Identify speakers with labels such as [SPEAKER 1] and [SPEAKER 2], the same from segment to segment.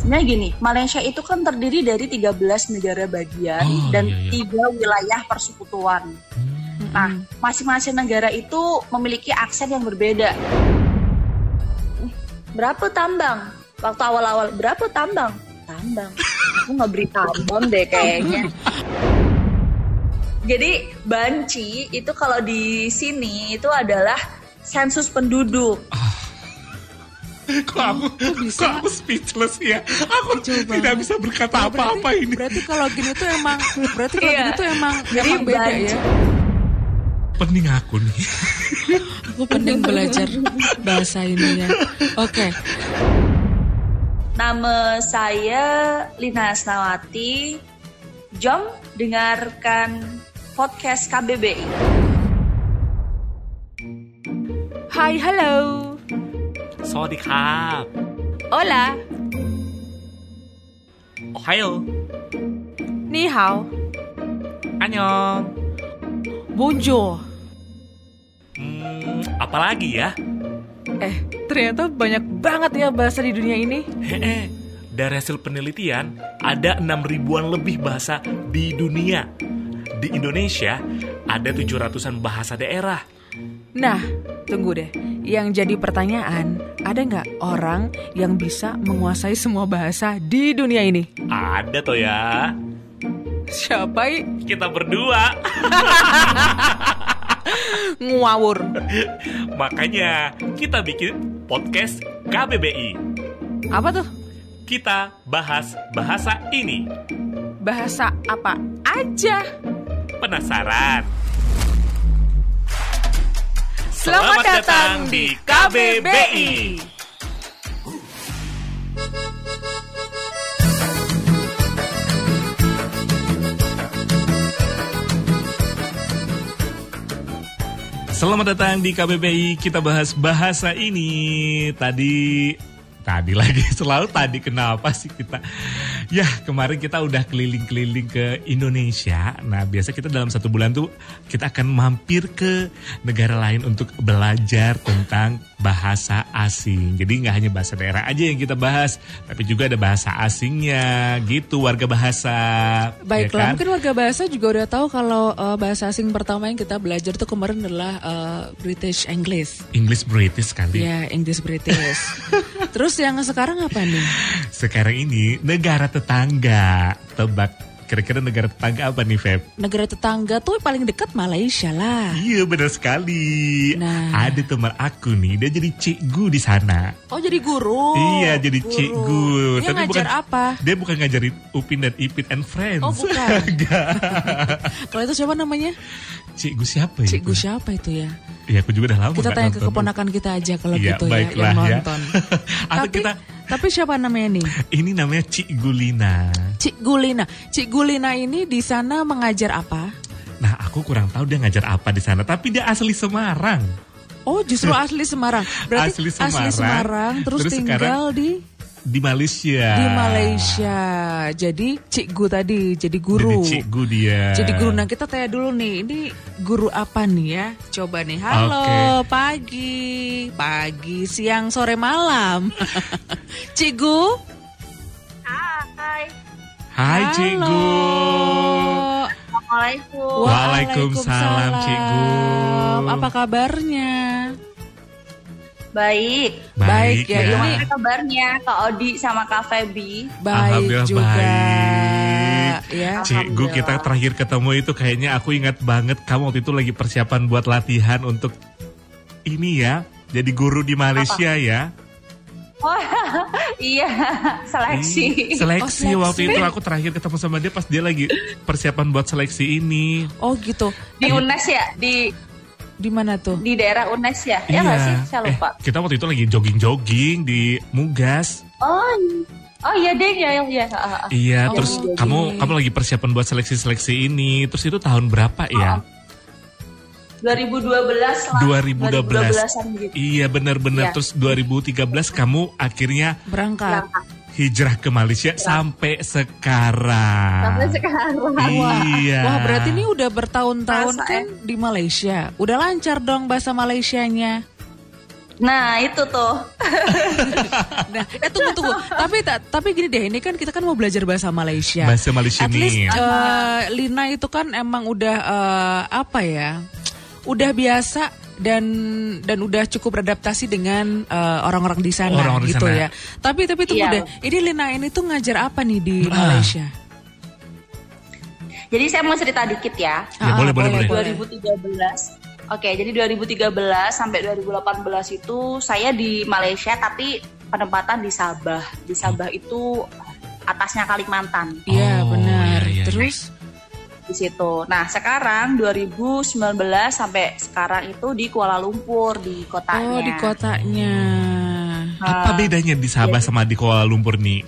[SPEAKER 1] Sebenarnya gini, Malaysia itu kan terdiri dari 13 negara bagian
[SPEAKER 2] Oh,
[SPEAKER 1] dan
[SPEAKER 2] iya, iya.
[SPEAKER 1] tiga wilayah persekutuan.
[SPEAKER 2] Hmm.
[SPEAKER 1] Nah, masing-masing negara itu memiliki aksen yang berbeda.
[SPEAKER 3] Berapa tambang? Waktu awal-awal berapa tambang? Tambang. Aku nggak beri tambang deh kayaknya. Jadi banci itu kalau di sini itu adalah sensus penduduk.
[SPEAKER 2] Kok aku, kok aku speechless ya? Aku tidak bisa berkata apa-apa ini.
[SPEAKER 4] Berarti kalau gini tuh emang berarti kalau
[SPEAKER 3] Iya.
[SPEAKER 4] gini tuh emang
[SPEAKER 3] Jadi
[SPEAKER 4] emang beda ya.
[SPEAKER 3] banci.
[SPEAKER 2] Pening aku nih.
[SPEAKER 4] Aku penting belajar bahasa ininya. Oke.
[SPEAKER 3] Nama saya Lina Asnawati. Jom dengarkan podcast KBBI.
[SPEAKER 4] Hai, halo.
[SPEAKER 5] Sorry ครับ
[SPEAKER 4] Hola.
[SPEAKER 5] โอไฮโอ
[SPEAKER 4] Ni hao.
[SPEAKER 5] อันยอง
[SPEAKER 4] Bonjour.
[SPEAKER 5] hmm, apalagi ya
[SPEAKER 4] Eh, ternyata banyak banget ya bahasa di dunia ini.
[SPEAKER 5] Hehe. dari hasil penelitian ada 6 ribuan lebih bahasa di dunia di Indonesia ada 700-an bahasa daerah
[SPEAKER 4] Nah, tunggu deh. Yang jadi pertanyaan, ada nggak orang yang bisa menguasai semua bahasa di dunia ini?
[SPEAKER 5] ada toh ya
[SPEAKER 4] Siapa? i?
[SPEAKER 5] kita berdua
[SPEAKER 4] Ngawur.
[SPEAKER 5] makanya kita bikin podcast KBBI
[SPEAKER 4] Apa tuh?
[SPEAKER 5] kita bahas bahasa ini
[SPEAKER 4] Bahasa apa aja?
[SPEAKER 5] penasaran
[SPEAKER 4] Selamat, datang di KBBI.
[SPEAKER 5] Selamat datang di KBBI, kita bahas bahasa ini. Tadi, tadi lagi, selalu tadi kenapa sih kita? Ya, kemarin kita udah keliling-keliling ke Indonesia. Nah, biasa kita dalam satu bulan tuh, kita akan mampir ke negara lain untuk belajar tentang bahasa asing. Jadi nggak hanya bahasa daerah aja yang kita bahas, tapi juga ada bahasa asingnya gitu, warga bahasa. ya
[SPEAKER 4] Baiklah,
[SPEAKER 5] kan?
[SPEAKER 4] mungkin warga bahasa juga udah tahu kalau eh, bahasa asing pertama yang kita belajar tuh kemarin adalah eh, British English.
[SPEAKER 5] English British kan, kali.
[SPEAKER 4] Ya, English British. Terus yang sekarang apa nih?
[SPEAKER 5] Sekarang ini negara tetangga. Tebak kira-kira negara tetangga apa nih, Feb?
[SPEAKER 4] Negara tetangga tuh paling dekat Malaysia lah.
[SPEAKER 5] Iya, benar sekali.
[SPEAKER 4] Nah.
[SPEAKER 5] Ada teman aku nih, dia jadi cikgu di sana.
[SPEAKER 4] Oh, jadi guru.
[SPEAKER 5] iya, jadi
[SPEAKER 4] Guru.
[SPEAKER 5] cikgu.
[SPEAKER 4] Dia ngajar apa?
[SPEAKER 5] Dia bukan ngajarin Upin dan Ipin and Friends.
[SPEAKER 4] Oh, bukan. Kalau itu siapa namanya?
[SPEAKER 5] Cikgu siapa ya?
[SPEAKER 4] Cikgu siapa itu ya?
[SPEAKER 5] Ya, aku juga udah lama
[SPEAKER 4] Kita
[SPEAKER 5] nggak
[SPEAKER 4] tanya ke
[SPEAKER 5] nonton.
[SPEAKER 4] keponakan kita aja kalau
[SPEAKER 5] Iya,
[SPEAKER 4] gitu ya,
[SPEAKER 5] baiklah
[SPEAKER 4] yang
[SPEAKER 5] ya.
[SPEAKER 4] nonton.
[SPEAKER 5] Atau
[SPEAKER 4] tapi,
[SPEAKER 5] kita,
[SPEAKER 4] tapi siapa namanya nih?
[SPEAKER 5] ini namanya Cikgu Lina.
[SPEAKER 4] Cik Gulina. Cik Gulina ini di sana mengajar apa?
[SPEAKER 5] Nah, aku kurang tahu dia ngajar apa di sana, tapi dia asli Semarang.
[SPEAKER 4] Oh, justru asli Semarang. Berarti
[SPEAKER 5] Asli Semarang,
[SPEAKER 4] Semarang, terus,
[SPEAKER 5] terus Ah.
[SPEAKER 4] tinggal di
[SPEAKER 5] Di Malaysia.
[SPEAKER 4] di Malaysia. Jadi cikgu tadi jadi
[SPEAKER 5] Jadi
[SPEAKER 4] guru.
[SPEAKER 5] cikgu dia.
[SPEAKER 4] Jadi guru. Nah, kita tanya dulu nih, ini guru apa nih ya? Coba nih. Halo, pagi. Pagi, siang, sore, malam. cikgu?
[SPEAKER 3] Hai,
[SPEAKER 5] Hai
[SPEAKER 4] Halo.
[SPEAKER 5] cikgu.
[SPEAKER 3] Assalamualaikum.
[SPEAKER 5] Waalaikumsalam, Cikgu.
[SPEAKER 4] Apa kabarnya?
[SPEAKER 3] Baik.
[SPEAKER 4] Baik ya, ini
[SPEAKER 3] Gimana kabarnya Kak Odi sama Kak Febi?
[SPEAKER 4] Baik
[SPEAKER 5] Alhamdulillah
[SPEAKER 4] juga.
[SPEAKER 5] baik.
[SPEAKER 4] Ya.
[SPEAKER 5] Cikgu
[SPEAKER 3] Alhamdulillah.
[SPEAKER 5] kita terakhir ketemu itu kayaknya aku ingat banget kamu waktu itu lagi persiapan buat latihan untuk ini ya. Jadi guru di Malaysia ya.
[SPEAKER 3] Oh iya, seleksi.
[SPEAKER 5] Ih, Hmm, Seleksi
[SPEAKER 4] Oh, seleksi.
[SPEAKER 5] waktu itu aku terakhir ketemu sama dia pas dia lagi persiapan buat seleksi ini.
[SPEAKER 4] Oh gitu.
[SPEAKER 3] Di UNES ya, di
[SPEAKER 4] Di mana tuh?
[SPEAKER 3] di daerah UNES ya. Ya
[SPEAKER 1] Iya
[SPEAKER 3] nggak sih? Saya
[SPEAKER 5] Eh,
[SPEAKER 3] lupa.
[SPEAKER 5] kita waktu itu lagi jogging-jogging di Mugas.
[SPEAKER 3] Oh. i- Oh iya deh ya, iya. Ah, ah, ah.
[SPEAKER 5] Iya,
[SPEAKER 4] Oh,
[SPEAKER 5] terus
[SPEAKER 4] jadi-
[SPEAKER 5] kamu kamu lagi persiapan buat seleksi-seleksi ini. Terus itu tahun berapa
[SPEAKER 4] Oh,
[SPEAKER 5] ya?
[SPEAKER 3] 2012 lah.
[SPEAKER 5] 2012.
[SPEAKER 3] 2012-an gitu.
[SPEAKER 5] Iya,
[SPEAKER 3] Iya.
[SPEAKER 5] benar-benar. Terus 2013 kamu akhirnya
[SPEAKER 4] Berangkat.
[SPEAKER 5] hijrah ke
[SPEAKER 4] Iya.
[SPEAKER 5] Malaysia sampai sekarang.
[SPEAKER 3] Sampai sekarang.
[SPEAKER 5] Iya.
[SPEAKER 4] Wah berarti ini udah bertahun-tahun
[SPEAKER 3] Masa,
[SPEAKER 4] kan di Malaysia. Udah lancar dong bahasa Malaysianya.
[SPEAKER 1] Nah itu tuh.
[SPEAKER 4] Nah, eh tunggu tunggu. Tapi ta- tapi gini deh, ini kan kita kan mau belajar bahasa Malaysia.
[SPEAKER 5] Bahasa Malaysia
[SPEAKER 4] At least
[SPEAKER 5] nih.
[SPEAKER 4] eh, Lina itu kan emang udah eh, apa ya? Udah biasa dan dan udah cukup beradaptasi dengan eh, orang-orang di sana
[SPEAKER 5] Orang-orang di
[SPEAKER 4] gitu
[SPEAKER 5] sana.
[SPEAKER 4] ya. Tapi tapi
[SPEAKER 1] Iya.
[SPEAKER 4] tunggu deh. Ini Lina ini tuh ngajar apa nih di
[SPEAKER 5] Ah.
[SPEAKER 4] Malaysia?
[SPEAKER 1] Jadi saya mau cerita dikit ya.
[SPEAKER 5] Ya,
[SPEAKER 4] Ah,
[SPEAKER 5] boleh, boleh, boleh.
[SPEAKER 1] 2013. Oke, jadi 2013 sampai 2018 itu saya di Malaysia tapi penempatan di Sabah. Di Sabah itu atasnya Kalimantan
[SPEAKER 4] Iya,
[SPEAKER 5] Oh,
[SPEAKER 4] benar.
[SPEAKER 5] iya, iya.
[SPEAKER 4] Terus
[SPEAKER 1] di situ. Nah, sekarang 2019 sampai sekarang itu di Kuala Lumpur di kotanya.
[SPEAKER 4] oh di kotanya. Ah.
[SPEAKER 5] Apa bedanya di Sabah
[SPEAKER 4] Iya.
[SPEAKER 5] sama di Kuala Lumpur nih?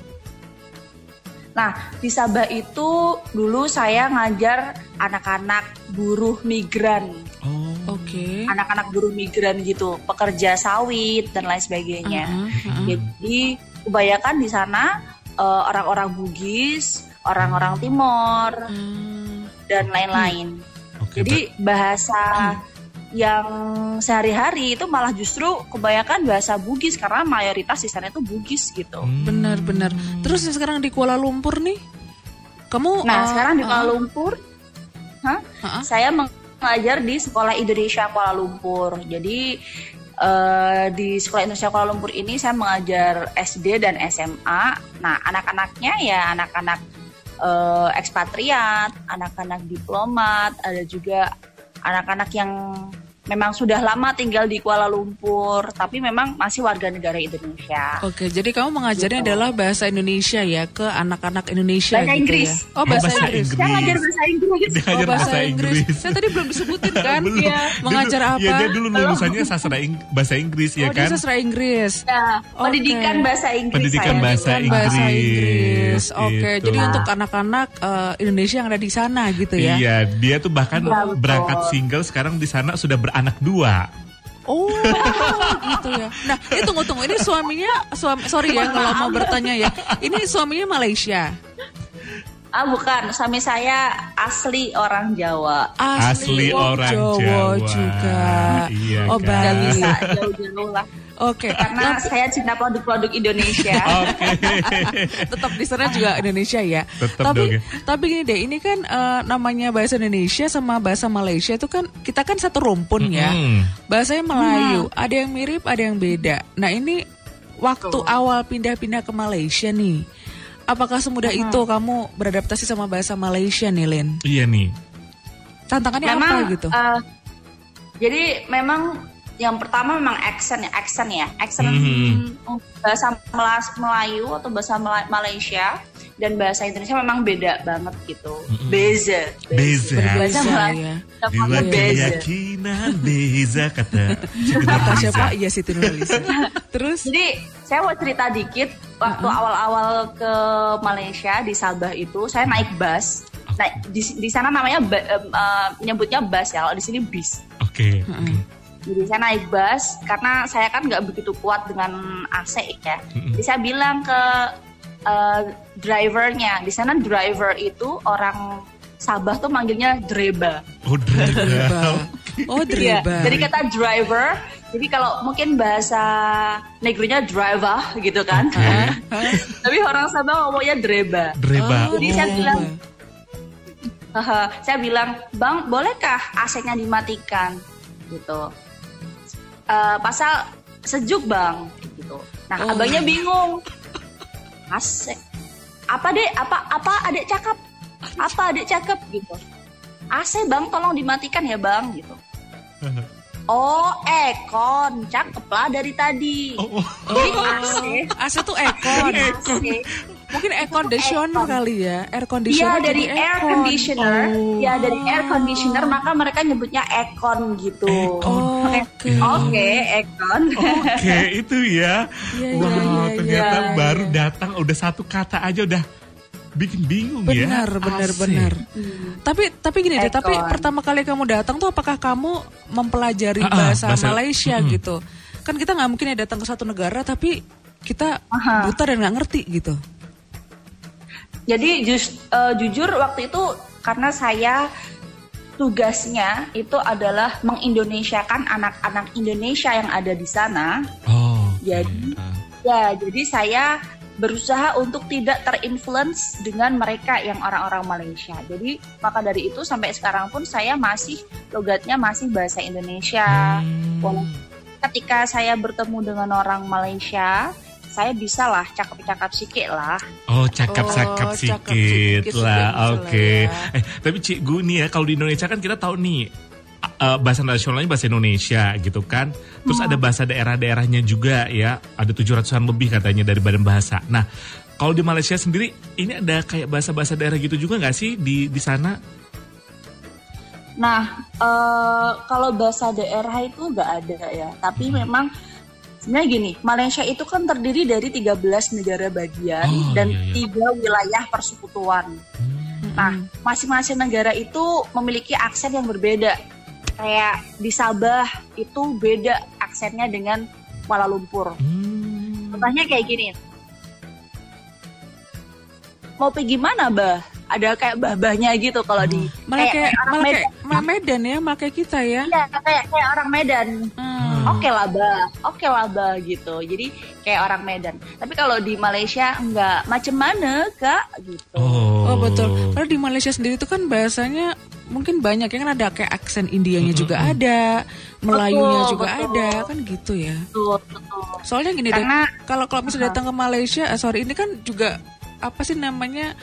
[SPEAKER 1] Nah, di Sabah itu dulu saya ngajar anak-anak buruh migran.
[SPEAKER 5] Oh.
[SPEAKER 4] Oke.
[SPEAKER 1] anak-anak buruh migran gitu, pekerja sawit dan lain sebagainya.
[SPEAKER 4] Heeh, heeh.
[SPEAKER 1] Jadi kebanyakan di sana eh, orang-orang Bugis, orang-orang Timor
[SPEAKER 4] Hmm.
[SPEAKER 1] dan lain-lain.
[SPEAKER 5] Oke.
[SPEAKER 1] Jadi bahasa yang sehari-hari itu malah justru kebanyakan bahasa Bugis karena mayoritas di sana itu Bugis gitu.
[SPEAKER 5] Hmm.
[SPEAKER 4] Benar-benar. Terus yang sekarang di Kuala Lumpur nih, kamu?
[SPEAKER 1] Nah,
[SPEAKER 4] uh,
[SPEAKER 1] sekarang di
[SPEAKER 4] uh,
[SPEAKER 1] Kuala Lumpur, hah?
[SPEAKER 4] Heeh.
[SPEAKER 1] saya mengajar di sekolah Indonesia Kuala Lumpur. Jadi eh, di sekolah Indonesia Kuala Lumpur ini saya mengajar SD dan SMA. Nah, anak-anaknya ya anak-anak eh, ekspatriat, anak-anak diplomat, ada juga anak-anak yang memang sudah lama tinggal di Kuala Lumpur, tapi memang masih warga negara Indonesia.
[SPEAKER 4] Oke, jadi kamu mengajarnya adalah bahasa Indonesia ya ke anak-anak Indonesia
[SPEAKER 1] Bahasa
[SPEAKER 4] gitu
[SPEAKER 1] Inggris.
[SPEAKER 4] ya. Oh, bahasa,
[SPEAKER 5] bahasa
[SPEAKER 4] Inggris.
[SPEAKER 5] Inggris.
[SPEAKER 1] Saya ngajar bahasa Inggris.
[SPEAKER 5] Dia
[SPEAKER 4] Oh,
[SPEAKER 5] ngajar
[SPEAKER 4] bahasa Inggris. Saya tadi belum disebutin kan?
[SPEAKER 5] Belum.
[SPEAKER 4] Iya.
[SPEAKER 5] Dia
[SPEAKER 4] Mengajar
[SPEAKER 5] dulu-
[SPEAKER 4] apa?
[SPEAKER 5] Ya dia dulu lulusannya sastra Ing- bahasa Inggris ya
[SPEAKER 4] oh, dia
[SPEAKER 5] kan?
[SPEAKER 4] sastra Inggris.
[SPEAKER 1] Ya,
[SPEAKER 4] Oke.
[SPEAKER 1] pendidikan bahasa Inggris.
[SPEAKER 5] Pendidikan
[SPEAKER 1] saya.
[SPEAKER 5] bahasa
[SPEAKER 4] Kan bahasa Inggris.
[SPEAKER 5] Inggris,
[SPEAKER 4] Oke,
[SPEAKER 5] gitu.
[SPEAKER 4] jadi untuk anak-anak eh, Indonesia yang ada di sana gitu ya.
[SPEAKER 5] Iya, dia tuh bahkan
[SPEAKER 1] Iya, betul.
[SPEAKER 5] berangkat single sekarang di sana sudah beranak dua.
[SPEAKER 4] Oh, gitu ya. Nah, ini tunggu-tunggu. Ini suaminya, suami, sorry ya kalau mau bertanya ya. Ini suaminya Malaysia.
[SPEAKER 1] Ah bukan, suami saya asli orang Jawa.
[SPEAKER 5] Asli,
[SPEAKER 4] wong
[SPEAKER 5] orang Jawa,
[SPEAKER 4] juga.
[SPEAKER 5] Iya
[SPEAKER 4] oh,
[SPEAKER 5] kan?
[SPEAKER 1] Gak
[SPEAKER 4] Bali.
[SPEAKER 1] bisa jauh-jauh lah.
[SPEAKER 4] Oke,
[SPEAKER 1] Karena saya cinta produk-produk Indonesia.
[SPEAKER 5] Oke.
[SPEAKER 4] tetap di sana juga Indonesia ya.
[SPEAKER 5] Tetap
[SPEAKER 4] tapi
[SPEAKER 5] dong ya.
[SPEAKER 4] tapi gini deh, ini kan eh, namanya bahasa Indonesia sama bahasa Malaysia itu kan kita kan satu rumpun ya.
[SPEAKER 5] Hmm.
[SPEAKER 4] Bahasanya Melayu,
[SPEAKER 1] Iya.
[SPEAKER 4] ada yang mirip, ada yang beda. Nah, ini waktu awal pindah-pindah ke Malaysia nih. Apakah semudah itu kamu beradaptasi sama bahasa Malaysia nih, Lin?
[SPEAKER 5] Iya nih.
[SPEAKER 4] Tantangannya
[SPEAKER 1] memang
[SPEAKER 4] apa gitu?
[SPEAKER 1] eh, jadi memang yang pertama memang accent ya, accent ya. Accent
[SPEAKER 5] Mhm.
[SPEAKER 1] bahasa Melas- Melayu atau bahasa Mela- Malaysia dan bahasa Indonesia memang beda banget gitu.
[SPEAKER 5] Mhm.
[SPEAKER 1] Beza.
[SPEAKER 5] Beza. ya.
[SPEAKER 4] Berbahasa
[SPEAKER 1] Melayu.
[SPEAKER 4] ya.
[SPEAKER 5] Dua
[SPEAKER 1] Sama beza.
[SPEAKER 5] keyakinan beza kata.
[SPEAKER 4] Kata
[SPEAKER 5] Beza.
[SPEAKER 4] siapa? Iya Siti Nurhaliza. Terus
[SPEAKER 1] Jadi saya mau cerita dikit waktu awal-awal ke Malaysia di Sabah itu saya naik bus. Nah, di, di sana namanya ba- em, eh, menyebutnya bus ya, kalau di sini bis.
[SPEAKER 5] Oke.
[SPEAKER 1] Jadi saya naik bus karena saya kan nggak begitu kuat dengan AC ya.
[SPEAKER 5] Mm-mm.
[SPEAKER 1] Jadi saya bilang ke eh, drivernya, di sana driver itu orang Sabah tuh manggilnya dreba.
[SPEAKER 5] Oh,
[SPEAKER 4] Dreba.
[SPEAKER 5] dreba.
[SPEAKER 4] Oh,
[SPEAKER 1] Iya,
[SPEAKER 4] Dreba.
[SPEAKER 1] jadi kata driver, jadi kalau mungkin bahasa negerinya driver gitu kan.
[SPEAKER 5] Oke.
[SPEAKER 1] Tapi orang Sabah ngomongnya dreba.
[SPEAKER 5] Dreba.
[SPEAKER 4] Oh,
[SPEAKER 1] Jadi saya
[SPEAKER 4] Dreba.
[SPEAKER 1] bilang, Haha, saya bilang, bang bolehkah AC-nya dimatikan? Gitu. "Eh, pasal sejuk bang, gitu. Nah
[SPEAKER 4] Oh.
[SPEAKER 1] abangnya bingung. AC. Apa dek? Apa apa adek cakep? Apa adek cakep? Gitu. AC bang tolong dimatikan ya bang, gitu. Oh ekon, cakep lah dari tadi.
[SPEAKER 5] Oh, oh.
[SPEAKER 1] Jadi AC,
[SPEAKER 4] AC tuh ekon.
[SPEAKER 1] AC.
[SPEAKER 4] Ah, Mungkin air conditioner
[SPEAKER 1] Ekon.
[SPEAKER 4] kali ya. Air
[SPEAKER 1] Iya. Iya
[SPEAKER 4] conditioner.
[SPEAKER 1] dari
[SPEAKER 4] jadi
[SPEAKER 1] air
[SPEAKER 4] ekon.
[SPEAKER 1] conditioner,
[SPEAKER 5] Oh.
[SPEAKER 1] ya dari air conditioner maka mereka nyebutnya ekon gitu.
[SPEAKER 5] Ekon. Oh.
[SPEAKER 4] Oh,
[SPEAKER 1] Oke.
[SPEAKER 4] Oke.
[SPEAKER 1] Oke, ekon.
[SPEAKER 5] Oke, itu ya.
[SPEAKER 4] Iya,
[SPEAKER 5] Wah,
[SPEAKER 4] iya, iya,
[SPEAKER 5] ternyata
[SPEAKER 4] iya.
[SPEAKER 5] baru datang udah satu kata aja udah bikin bingung ya.
[SPEAKER 4] Benar, benar,
[SPEAKER 5] Asik.
[SPEAKER 4] benar. Tapi tapi gini deh, tapi
[SPEAKER 1] Ekon.
[SPEAKER 4] pertama kali kamu datang tuh apakah kamu mempelajari
[SPEAKER 5] Ah, ah,
[SPEAKER 4] bahasa,
[SPEAKER 5] bahasa-
[SPEAKER 4] Malaysia
[SPEAKER 5] Mm-mm.
[SPEAKER 4] gitu? Kan kita nggak mungkin ya datang ke satu negara tapi kita buta dan nggak ngerti gitu.
[SPEAKER 1] Jadi just, eh, jujur waktu itu karena saya tugasnya itu adalah mengindonesiakan anak-anak Indonesia yang ada di sana.
[SPEAKER 5] Oh. oke.
[SPEAKER 1] Jadi,
[SPEAKER 5] Ah.
[SPEAKER 1] Ya, jadi saya berusaha untuk tidak terinfluence dengan mereka yang orang-orang Malaysia. Jadi maka dari itu sampai sekarang pun saya masih logatnya masih bahasa Indonesia.
[SPEAKER 5] Hmm.
[SPEAKER 1] walaupun Ketika saya bertemu dengan orang Malaysia, saya bisa lah cakap-cakap sikit lah.
[SPEAKER 5] Oh, cakap-cakap
[SPEAKER 4] Oh, cakap
[SPEAKER 5] sikit
[SPEAKER 4] sikit
[SPEAKER 5] lah.
[SPEAKER 4] sudah bisa
[SPEAKER 5] Oke.
[SPEAKER 4] lah
[SPEAKER 5] Eh, tapi Cikgu nih ya, kalau di Indonesia kan kita tahu nih eh, bahasa nasionalnya bahasa Indonesia gitu kan. Terus ada bahasa daerah-daerahnya juga ya. Ada 700-an lebih katanya dari badan bahasa. Nah, kalau di Malaysia sendiri ini ada kayak bahasa-bahasa daerah gitu juga nggak sih di di sana?
[SPEAKER 1] Nah, eh, kalau bahasa daerah itu nggak ada ya. Tapi memang sebenarnya gini, Malaysia itu kan terdiri dari 13 negara bagian
[SPEAKER 5] Oh,
[SPEAKER 1] dan
[SPEAKER 5] iya, iya.
[SPEAKER 1] tiga wilayah persekutuan. Nah, masing-masing negara itu memiliki aksen yang berbeda. Kayak di Sabah itu beda aksennya dengan Kuala Lumpur.
[SPEAKER 5] Hmm.
[SPEAKER 1] Contohnya kayak gini. Mau pergi mana, Bah? Ada kayak bah-bahnya gitu kalau di
[SPEAKER 4] Hmm. Malah kayak,
[SPEAKER 1] orang
[SPEAKER 4] malah
[SPEAKER 1] Medan.
[SPEAKER 4] kayak malah Medan ya, malah kayak kita ya.
[SPEAKER 1] Iya, kayak kayak orang Medan.
[SPEAKER 4] Hmm.
[SPEAKER 1] Oke lah, Bah. Oke lah, Bah gitu. Jadi kayak orang Medan. Tapi kalau di Malaysia enggak macem mana, Kak gitu.
[SPEAKER 5] Oh.
[SPEAKER 4] Oh betul. Karena di Malaysia sendiri itu kan bahasanya mungkin banyak ya kan ada kayak aksen Indianya juga ada, Melayunya
[SPEAKER 1] Betul,
[SPEAKER 4] juga
[SPEAKER 1] betul.
[SPEAKER 4] ada kan gitu ya.
[SPEAKER 1] Betul, betul.
[SPEAKER 4] Soalnya gini deh,
[SPEAKER 1] Karena-
[SPEAKER 4] kalau kalau misalnya datang ke Malaysia, eh, sorry ini kan juga apa sih namanya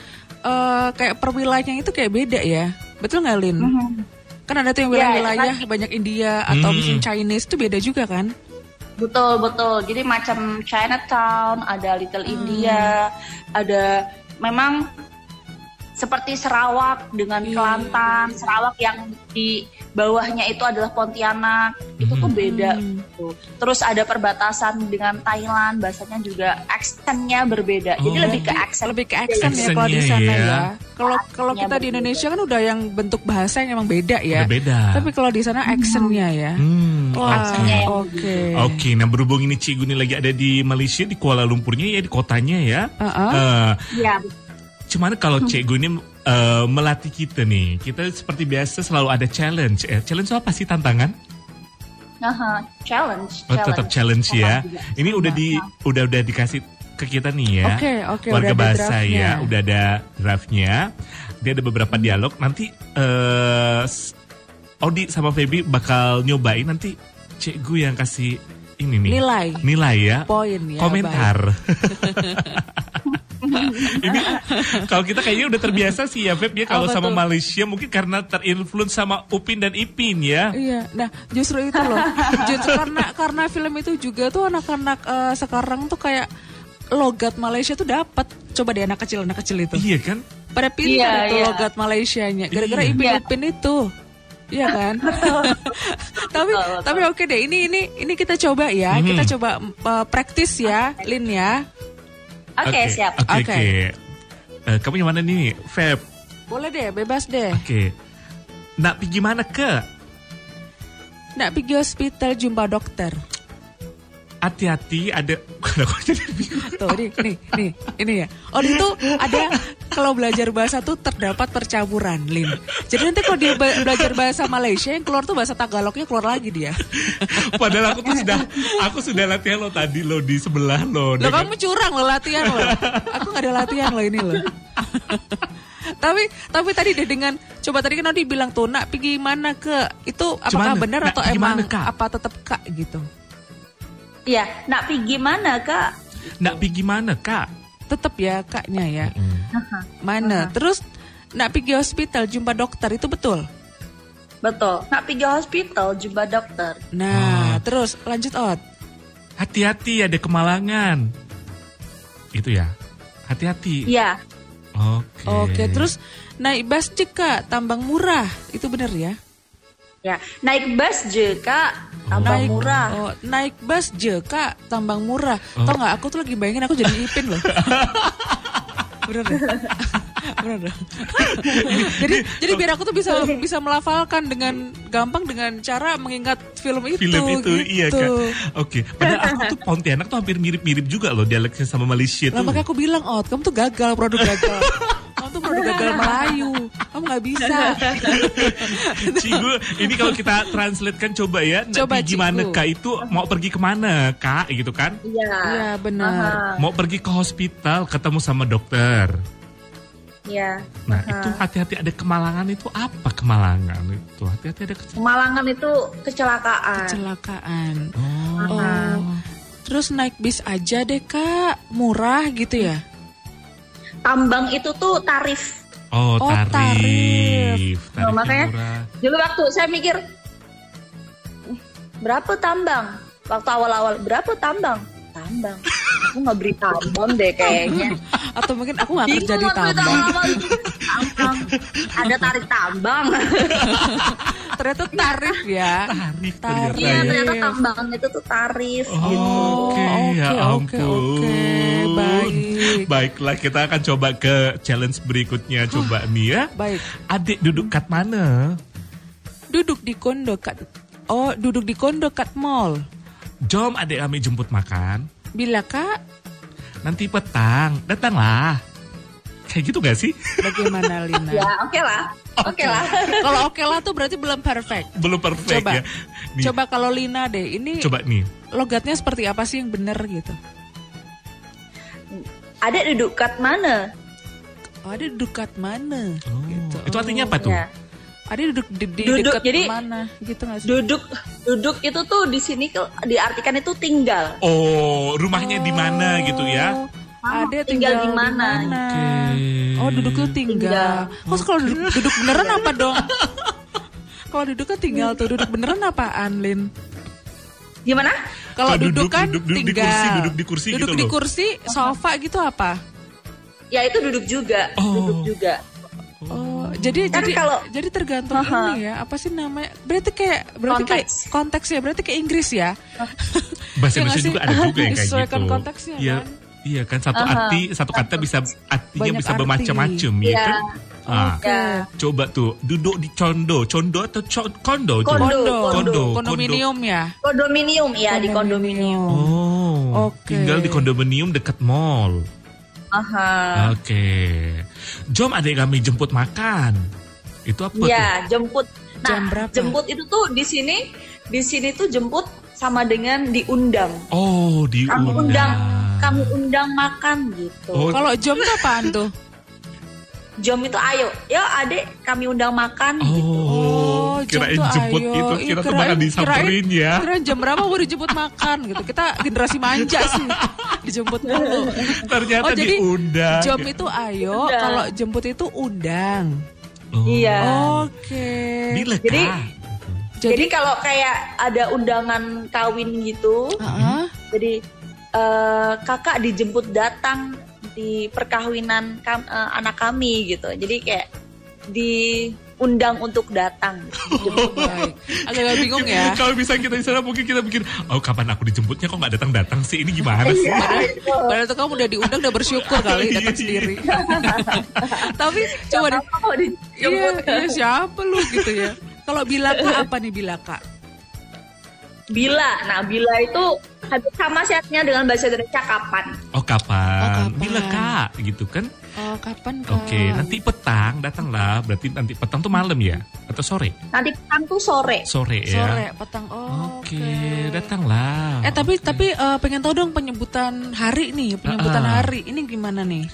[SPEAKER 4] eh, kayak perwilayahnya itu kayak beda ya, betul nggak Lin?
[SPEAKER 1] Mm-hmm. Mhm.
[SPEAKER 4] Kan ada tuh yang
[SPEAKER 1] Ya,
[SPEAKER 4] wilayah-wilayah banyak India atau
[SPEAKER 5] Hmm.
[SPEAKER 4] mungkin Chinese itu beda juga kan?
[SPEAKER 1] Betul, betul. Jadi macam Chinatown, ada
[SPEAKER 5] Hmm.
[SPEAKER 1] Little India, ada memang seperti Sarawak dengan
[SPEAKER 5] Iya,
[SPEAKER 1] Kelantan, Sarawak yang di bawahnya itu adalah Pontianak. Itu tuh beda
[SPEAKER 4] Hmm.
[SPEAKER 1] gitu. Terus ada perbatasan dengan Thailand, bahasanya juga aksennya berbeda. Jadi
[SPEAKER 5] Oh.
[SPEAKER 1] lebih ke aksen.
[SPEAKER 4] lebih ke aksen ya kalau di
[SPEAKER 5] Aksennya
[SPEAKER 4] sana
[SPEAKER 5] ya.
[SPEAKER 4] ya. Kalau kalau
[SPEAKER 1] Aksennya
[SPEAKER 4] kita di
[SPEAKER 1] berbeda.
[SPEAKER 4] Indonesia kan udah yang bentuk bahasa yang emang beda ya.
[SPEAKER 5] Beda.
[SPEAKER 4] Tapi kalau di sana aksennya ya.
[SPEAKER 5] Hmm,
[SPEAKER 4] Wah,
[SPEAKER 5] oke.
[SPEAKER 1] Aksennya yang
[SPEAKER 4] oke.
[SPEAKER 5] Oke, nah berhubung ini Cikgu nih lagi ada di Malaysia di Kuala Lumpurnya ya di kotanya ya.
[SPEAKER 4] Uh-uh.
[SPEAKER 5] Eh,
[SPEAKER 1] Iya,
[SPEAKER 5] Cuman kalau
[SPEAKER 4] Hmm.
[SPEAKER 5] cikgu ini eh, melatih kita nih, kita seperti biasa selalu ada challenge. Eh, challenge itu apa sih tantangan?
[SPEAKER 1] Aha, challenge,
[SPEAKER 5] Oh, tetap challenge ya. Ini udah di udah udah dikasih ke kita nih ya.
[SPEAKER 4] Oke, oke,
[SPEAKER 5] Warga
[SPEAKER 4] udah ada
[SPEAKER 5] bahasa
[SPEAKER 4] draftnya. Hmm.
[SPEAKER 5] ya, udah ada draftnya. Dia ada beberapa dialog. Nanti eh s- Odi sama Feby bakal nyobain nanti cikgu yang kasih ini nih.
[SPEAKER 4] Nilai.
[SPEAKER 5] Nilai ya.
[SPEAKER 4] Poin ya.
[SPEAKER 5] komentar. ini kalau kita kayaknya udah terbiasa sih ya Feb ya kalau
[SPEAKER 4] Apa
[SPEAKER 5] sama
[SPEAKER 4] tuh?
[SPEAKER 5] Malaysia mungkin karena terinfluence sama Upin dan Ipin ya.
[SPEAKER 4] baik. Iya, nah justru itu loh. Justru karena karena film itu juga tuh anak-anak eh, sekarang tuh kayak logat Malaysia tuh dapat. Coba deh anak kecil anak kecil itu.
[SPEAKER 5] Iya kan?
[SPEAKER 4] Pada pintar
[SPEAKER 1] Iya,
[SPEAKER 4] itu
[SPEAKER 1] iya.
[SPEAKER 4] logat Malaysianya. Gara-gara
[SPEAKER 5] Iya.
[SPEAKER 4] Ipin Ipin itu. Iya kan? tapi tapi oke deh ini ini ini kita coba ya.
[SPEAKER 5] Mhm.
[SPEAKER 4] Kita coba eh, praktis ya, Lin ya.
[SPEAKER 1] Oke, siap.
[SPEAKER 5] Oke
[SPEAKER 4] Oke.
[SPEAKER 5] oke. Eh, kamu yang mana nih Feb?
[SPEAKER 4] Boleh deh, bebas deh.
[SPEAKER 5] Oke. Nak pergi mana ke?
[SPEAKER 4] Nak pergi hospital jumpa dokter.
[SPEAKER 5] Hati-hati ada. Kenapa jadi bingung?
[SPEAKER 4] Tuh, ini, nih, nih, ini ya. Oh, itu ada kalau belajar bahasa tuh terdapat percampuran, Lin. Jadi nanti kalau dia ba- belajar bahasa Malaysia yang keluar tuh bahasa Tagalognya keluar lagi dia.
[SPEAKER 5] Padahal aku tuh sudah aku sudah latihan lo tadi lo di sebelah lo.
[SPEAKER 4] Loh
[SPEAKER 5] dengan-
[SPEAKER 4] kamu curang loh latihan loh. Aku nggak ada latihan loh ini loh. tapi tapi tadi deh dengan coba tadi kan Odi bilang tuh nak pergi mana ke itu apakah
[SPEAKER 5] Cuman,
[SPEAKER 4] benar
[SPEAKER 5] nak
[SPEAKER 4] atau
[SPEAKER 5] pergi
[SPEAKER 4] emang
[SPEAKER 5] mana, Kak?
[SPEAKER 4] apa tetap kak gitu
[SPEAKER 1] Iya, nak pergi mana, Kak?
[SPEAKER 5] Nak pergi mana kak?
[SPEAKER 4] tetap ya kaknya ya mana terus nak pergi hospital jumpa dokter itu betul
[SPEAKER 1] Betul. Nak pergi hospital jumpa dokter.
[SPEAKER 5] Ah.
[SPEAKER 4] Nah, terus lanjut out.
[SPEAKER 5] Hati-hati ada kemalangan. Itu ya. Hati-hati.
[SPEAKER 1] Iya.
[SPEAKER 5] Oke.
[SPEAKER 4] Oke, terus naik bus jeka tambang murah. Itu bener ya?
[SPEAKER 1] Ya, naik bus je, Kak. Tambah
[SPEAKER 4] naik
[SPEAKER 1] murah.
[SPEAKER 5] Ah.
[SPEAKER 4] oh, naik bus jeka tambang murah.
[SPEAKER 5] Oh.
[SPEAKER 4] Tau nggak aku tuh lagi bayangin aku jadi Ipin loh. bener ya? bener ya? jadi jadi biar aku tuh bisa bisa melafalkan dengan gampang dengan cara mengingat film itu.
[SPEAKER 5] Film itu, iya
[SPEAKER 4] gitu.
[SPEAKER 5] kak. Oke. Padahal aku tuh Pontianak tuh hampir mirip-mirip juga loh dialeknya sama Malaysia tuh.
[SPEAKER 4] Lah "Oh, makanya aku bilang, Ot, kamu tuh gagal, produk gagal. kamu tuh gagal Melayu. Kamu nggak bisa.
[SPEAKER 5] Cigu, ini kalau kita translate kan coba ya.
[SPEAKER 4] Coba,
[SPEAKER 5] nanti gimana
[SPEAKER 4] Cigu.
[SPEAKER 5] kak itu mau pergi kemana kak gitu kan?
[SPEAKER 1] Iya.
[SPEAKER 4] Iya
[SPEAKER 1] Aha,
[SPEAKER 4] benar.
[SPEAKER 5] Mau pergi ke hospital ketemu sama dokter.
[SPEAKER 1] Iya.
[SPEAKER 5] Nah itu hati-hati ada kemalangan itu apa kemalangan itu? Hati-hati ada kecelakaan.
[SPEAKER 1] Malangan itu kecelakaan.
[SPEAKER 4] Kecelakaan.
[SPEAKER 5] Oh.
[SPEAKER 4] Oh. Terus naik bis aja deh kak, murah gitu ya?
[SPEAKER 1] Tambang itu tuh tarif.
[SPEAKER 5] Oh,
[SPEAKER 4] Oh,
[SPEAKER 5] tarif.
[SPEAKER 4] tarif. Oh, ya.
[SPEAKER 5] Tarifnya
[SPEAKER 1] makanya-
[SPEAKER 5] murah.
[SPEAKER 1] Dulu waktu saya mikir "Eh, berapa tambang? Waktu awal-awal berapa tambang? Tambang. Aku nggak beri tambang deh kayaknya.
[SPEAKER 4] Atau mungkin aku nggak kerja di
[SPEAKER 1] Bingung waktu itu
[SPEAKER 4] tambang.
[SPEAKER 1] awal-awal. Tambang. Ada tarik tambang.
[SPEAKER 4] Ternyata tarif ya.
[SPEAKER 5] Tarif
[SPEAKER 4] Tarif.
[SPEAKER 5] ternyata
[SPEAKER 1] Iya
[SPEAKER 5] ya.
[SPEAKER 1] ternyata tambangan itu tuh tarif.
[SPEAKER 5] Oh, Oke, ya
[SPEAKER 4] oke, oke,
[SPEAKER 5] ampun.
[SPEAKER 4] baik,
[SPEAKER 5] Baiklah, kita akan coba ke challenge berikutnya. Coba nih ya.
[SPEAKER 4] baik.
[SPEAKER 5] Adik duduk kat mana?
[SPEAKER 4] Duduk di kondo kat, oh duduk di kondo kat mall.
[SPEAKER 5] Jom adik kami jemput makan.
[SPEAKER 4] Bila kak,
[SPEAKER 5] Nanti petang, datanglah. Kayak gitu gak sih?
[SPEAKER 1] Ya
[SPEAKER 4] bagaimana Lina?
[SPEAKER 1] oke lah. Oke lah.
[SPEAKER 4] Kalau oke lah tuh berarti belum perfect.
[SPEAKER 5] Belum perfect
[SPEAKER 4] Coba.
[SPEAKER 5] ya. Nih,
[SPEAKER 4] Coba kalau Lina deh, ini
[SPEAKER 5] coba nih.
[SPEAKER 4] logatnya seperti apa sih yang bener gitu?
[SPEAKER 1] Ada duduk kat mana?
[SPEAKER 4] Oh, ada duduk kat mana?
[SPEAKER 5] Oh,
[SPEAKER 4] Gitu.
[SPEAKER 5] Itu artinya apa tuh?
[SPEAKER 1] Ya.
[SPEAKER 4] Ada duduk di, di
[SPEAKER 1] Duduk,
[SPEAKER 4] dekat
[SPEAKER 1] jadi-
[SPEAKER 4] mana? Gitu nggak sih?
[SPEAKER 1] Duduk duduk itu tuh di sini ke- diartikan itu tinggal.
[SPEAKER 5] Oh, rumahnya di mana gitu
[SPEAKER 4] Oh.
[SPEAKER 5] ya?
[SPEAKER 4] Ada
[SPEAKER 1] Ah, Tinggal
[SPEAKER 4] tinggal,
[SPEAKER 1] di
[SPEAKER 4] di mana?
[SPEAKER 1] mana?
[SPEAKER 5] Oke.
[SPEAKER 4] Oh duduk tuh tinggal. Kok kalau duduk, duduk beneran apa dong? kalau duduk kan tinggal tuh duduk beneran apaan Lin?
[SPEAKER 1] Gimana?
[SPEAKER 4] Kalau
[SPEAKER 5] Kalau
[SPEAKER 4] duduk,
[SPEAKER 5] duduk-
[SPEAKER 4] kan
[SPEAKER 5] duduk- duduk di
[SPEAKER 4] tinggal.
[SPEAKER 5] kursi, duduk di kursi
[SPEAKER 4] Duduk
[SPEAKER 5] gitu
[SPEAKER 4] di
[SPEAKER 5] loh.
[SPEAKER 4] kursi, sofa gitu apa?
[SPEAKER 1] Ya itu duduk juga.
[SPEAKER 5] Oh.
[SPEAKER 1] Duduk juga.
[SPEAKER 4] Oh, jadi
[SPEAKER 1] Kan
[SPEAKER 4] jadi
[SPEAKER 1] kalau-
[SPEAKER 4] jadi tergantung ini ya, apa sih namanya? Berarti kayak berarti kayak
[SPEAKER 1] Konteks.
[SPEAKER 4] konteks ya, berarti kayak Inggris ya.
[SPEAKER 5] Bahasa
[SPEAKER 4] Iya nggak
[SPEAKER 5] Indonesia
[SPEAKER 4] sih?
[SPEAKER 5] juga ada juga yang kayak
[SPEAKER 4] Disesuaikan
[SPEAKER 5] gitu.
[SPEAKER 4] konteksnya,
[SPEAKER 5] Iya,
[SPEAKER 4] kan?
[SPEAKER 5] iya kan satu arti, satu kata bisa artinya
[SPEAKER 4] Banyak
[SPEAKER 5] bisa
[SPEAKER 4] arti. Oh.
[SPEAKER 5] bermacam-macam ya
[SPEAKER 1] Iya.
[SPEAKER 5] kan? Ah,
[SPEAKER 1] Ya.
[SPEAKER 4] Oke.
[SPEAKER 5] coba tuh duduk di condo, condo atau co- kondo? coba?
[SPEAKER 1] Kondo.
[SPEAKER 4] Kondo,
[SPEAKER 5] Kondo,
[SPEAKER 4] kondominium ya.
[SPEAKER 1] Kondominium ya di kondominium.
[SPEAKER 5] Oh,
[SPEAKER 4] Oke.
[SPEAKER 5] tinggal di kondominium dekat mall.
[SPEAKER 1] Aha.
[SPEAKER 4] Ah.
[SPEAKER 5] Oke. Jom adik kami jemput makan. Itu apa
[SPEAKER 4] Iya.
[SPEAKER 5] tuh?
[SPEAKER 1] Ya, jemput. Nah,
[SPEAKER 4] Jam berapa?
[SPEAKER 1] jemput itu tuh di sini di sini tuh jemput sama dengan diundang.
[SPEAKER 5] Oh, diundang.
[SPEAKER 1] Kamu undang, kamu undang makan gitu.
[SPEAKER 5] Oh,
[SPEAKER 4] Kalau jam tuh apaan tuh?
[SPEAKER 1] Jom itu ayo, yo adek kami undang makan gitu.
[SPEAKER 5] Oh,
[SPEAKER 4] jam
[SPEAKER 5] kirain
[SPEAKER 4] tuh
[SPEAKER 5] jemput
[SPEAKER 4] ayo.
[SPEAKER 5] itu,
[SPEAKER 4] Ih,
[SPEAKER 5] kira tuh
[SPEAKER 4] kirain-
[SPEAKER 5] bakal disamperin
[SPEAKER 4] kirain-
[SPEAKER 5] ya.
[SPEAKER 4] Kirain jam berapa gue dijemput makan gitu. Kita generasi manja sih. Dijemput dulu.
[SPEAKER 5] Ternyata
[SPEAKER 4] Oh, jadi
[SPEAKER 5] diundang.
[SPEAKER 4] Jam itu ayo,
[SPEAKER 1] Undang.
[SPEAKER 4] kalau jemput itu undang.
[SPEAKER 5] Oh.
[SPEAKER 1] Iya.
[SPEAKER 4] Oke.
[SPEAKER 5] Bila
[SPEAKER 1] Jadi-
[SPEAKER 5] kah?
[SPEAKER 1] Jadi,
[SPEAKER 4] Jadi
[SPEAKER 1] kalau kayak ada undangan kawin gitu,
[SPEAKER 4] Heeh.
[SPEAKER 1] jadi eh, kakak dijemput datang di perkawinan kam- eh, anak kami gitu. Jadi kayak diundang untuk datang.
[SPEAKER 4] Baik. Agak-agak bingung ya.
[SPEAKER 5] Kalau bisa kita di sana mungkin kita bikin, oh kapan aku dijemputnya kok nggak datang datang sih? Ini gimana sih?
[SPEAKER 1] Iya.
[SPEAKER 4] Padahal tuh kamu udah diundang udah bersyukur kali
[SPEAKER 5] Iya,
[SPEAKER 4] datang
[SPEAKER 5] iya.
[SPEAKER 4] sendiri. Tapi coba deh.
[SPEAKER 1] Apa kok
[SPEAKER 4] Iya,
[SPEAKER 1] dijemput?
[SPEAKER 4] iya, siapa lu gitu ya. Kalau bilaka apa nih bilaka?
[SPEAKER 1] Bila, nah bila itu hampir sama siatnya dengan bahasa Indonesia kapan.
[SPEAKER 5] Oh kapan?
[SPEAKER 4] Oh, kapan?
[SPEAKER 5] Bila kak? Gitu kan?
[SPEAKER 4] Oh, kapan kak?
[SPEAKER 5] Oke, nanti petang datanglah. Berarti nanti petang tuh malam ya? Atau sore?
[SPEAKER 1] Nanti petang tuh sore.
[SPEAKER 5] Sore
[SPEAKER 4] Sore,
[SPEAKER 5] ya.
[SPEAKER 4] petang. Oh,
[SPEAKER 5] Oke,
[SPEAKER 4] oke.
[SPEAKER 5] datanglah.
[SPEAKER 4] Eh tapi
[SPEAKER 5] Oke.
[SPEAKER 4] tapi eh, pengen tahu dong penyebutan hari nih, penyebutan
[SPEAKER 5] Ah, ah.
[SPEAKER 4] hari ini gimana nih?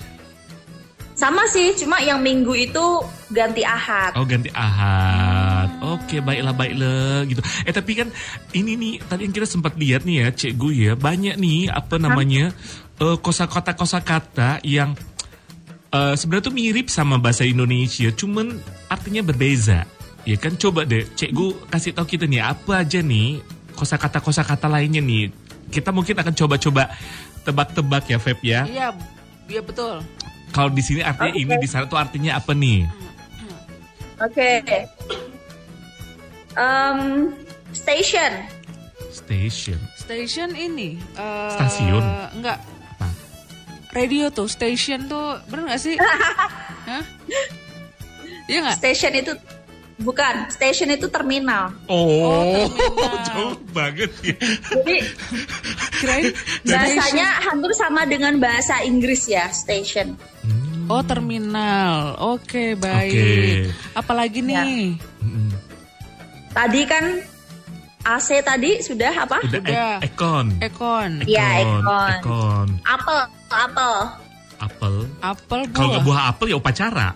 [SPEAKER 1] Sama sih, cuma yang minggu itu ganti ahad.
[SPEAKER 5] Oh ganti ahad. Oke baiklah baiklah gitu. Eh tapi kan ini nih tadi yang kita sempat lihat nih ya cikgu ya banyak nih apa namanya eh, kosakata kosakata yang eh, sebenarnya tuh mirip sama bahasa Indonesia, cuman artinya berbeza. Ya kan coba deh cikgu kasih tahu kita nih apa aja nih kosakata kosakata lainnya nih. Kita mungkin akan coba-coba tebak-tebak ya Feb ya.
[SPEAKER 4] Iya, iya betul.
[SPEAKER 5] Kalau di sini artinya ini di sana tuh artinya apa nih?
[SPEAKER 1] Oke. Em, station.
[SPEAKER 5] Station.
[SPEAKER 4] Station ini. eh,
[SPEAKER 5] Stasiun.
[SPEAKER 4] Enggak.
[SPEAKER 5] Apa?
[SPEAKER 4] Radio tuh, station tuh, bener gak sih? Hah? Iya gak?
[SPEAKER 1] Station itu bukan, station itu terminal.
[SPEAKER 5] Oh,
[SPEAKER 4] terminal.
[SPEAKER 5] jauh banget ya.
[SPEAKER 1] Jadi
[SPEAKER 4] Kirain
[SPEAKER 1] bahasanya hampir sama dengan bahasa Inggris ya, station.
[SPEAKER 5] Hmm,
[SPEAKER 4] Oh terminal, oke baik.
[SPEAKER 5] Oke.
[SPEAKER 4] Apalagi nih?
[SPEAKER 5] Mm-mm.
[SPEAKER 1] Tadi kan AC tadi sudah apa?
[SPEAKER 5] Udah, e-
[SPEAKER 4] Udah.
[SPEAKER 5] ekon.
[SPEAKER 4] Ekon,
[SPEAKER 1] Iya, ekon.
[SPEAKER 5] Ekon.
[SPEAKER 1] Apel, apel.
[SPEAKER 5] Apel.
[SPEAKER 4] Iya. apel buah.
[SPEAKER 5] Kalau nggak buah apel ya upacara.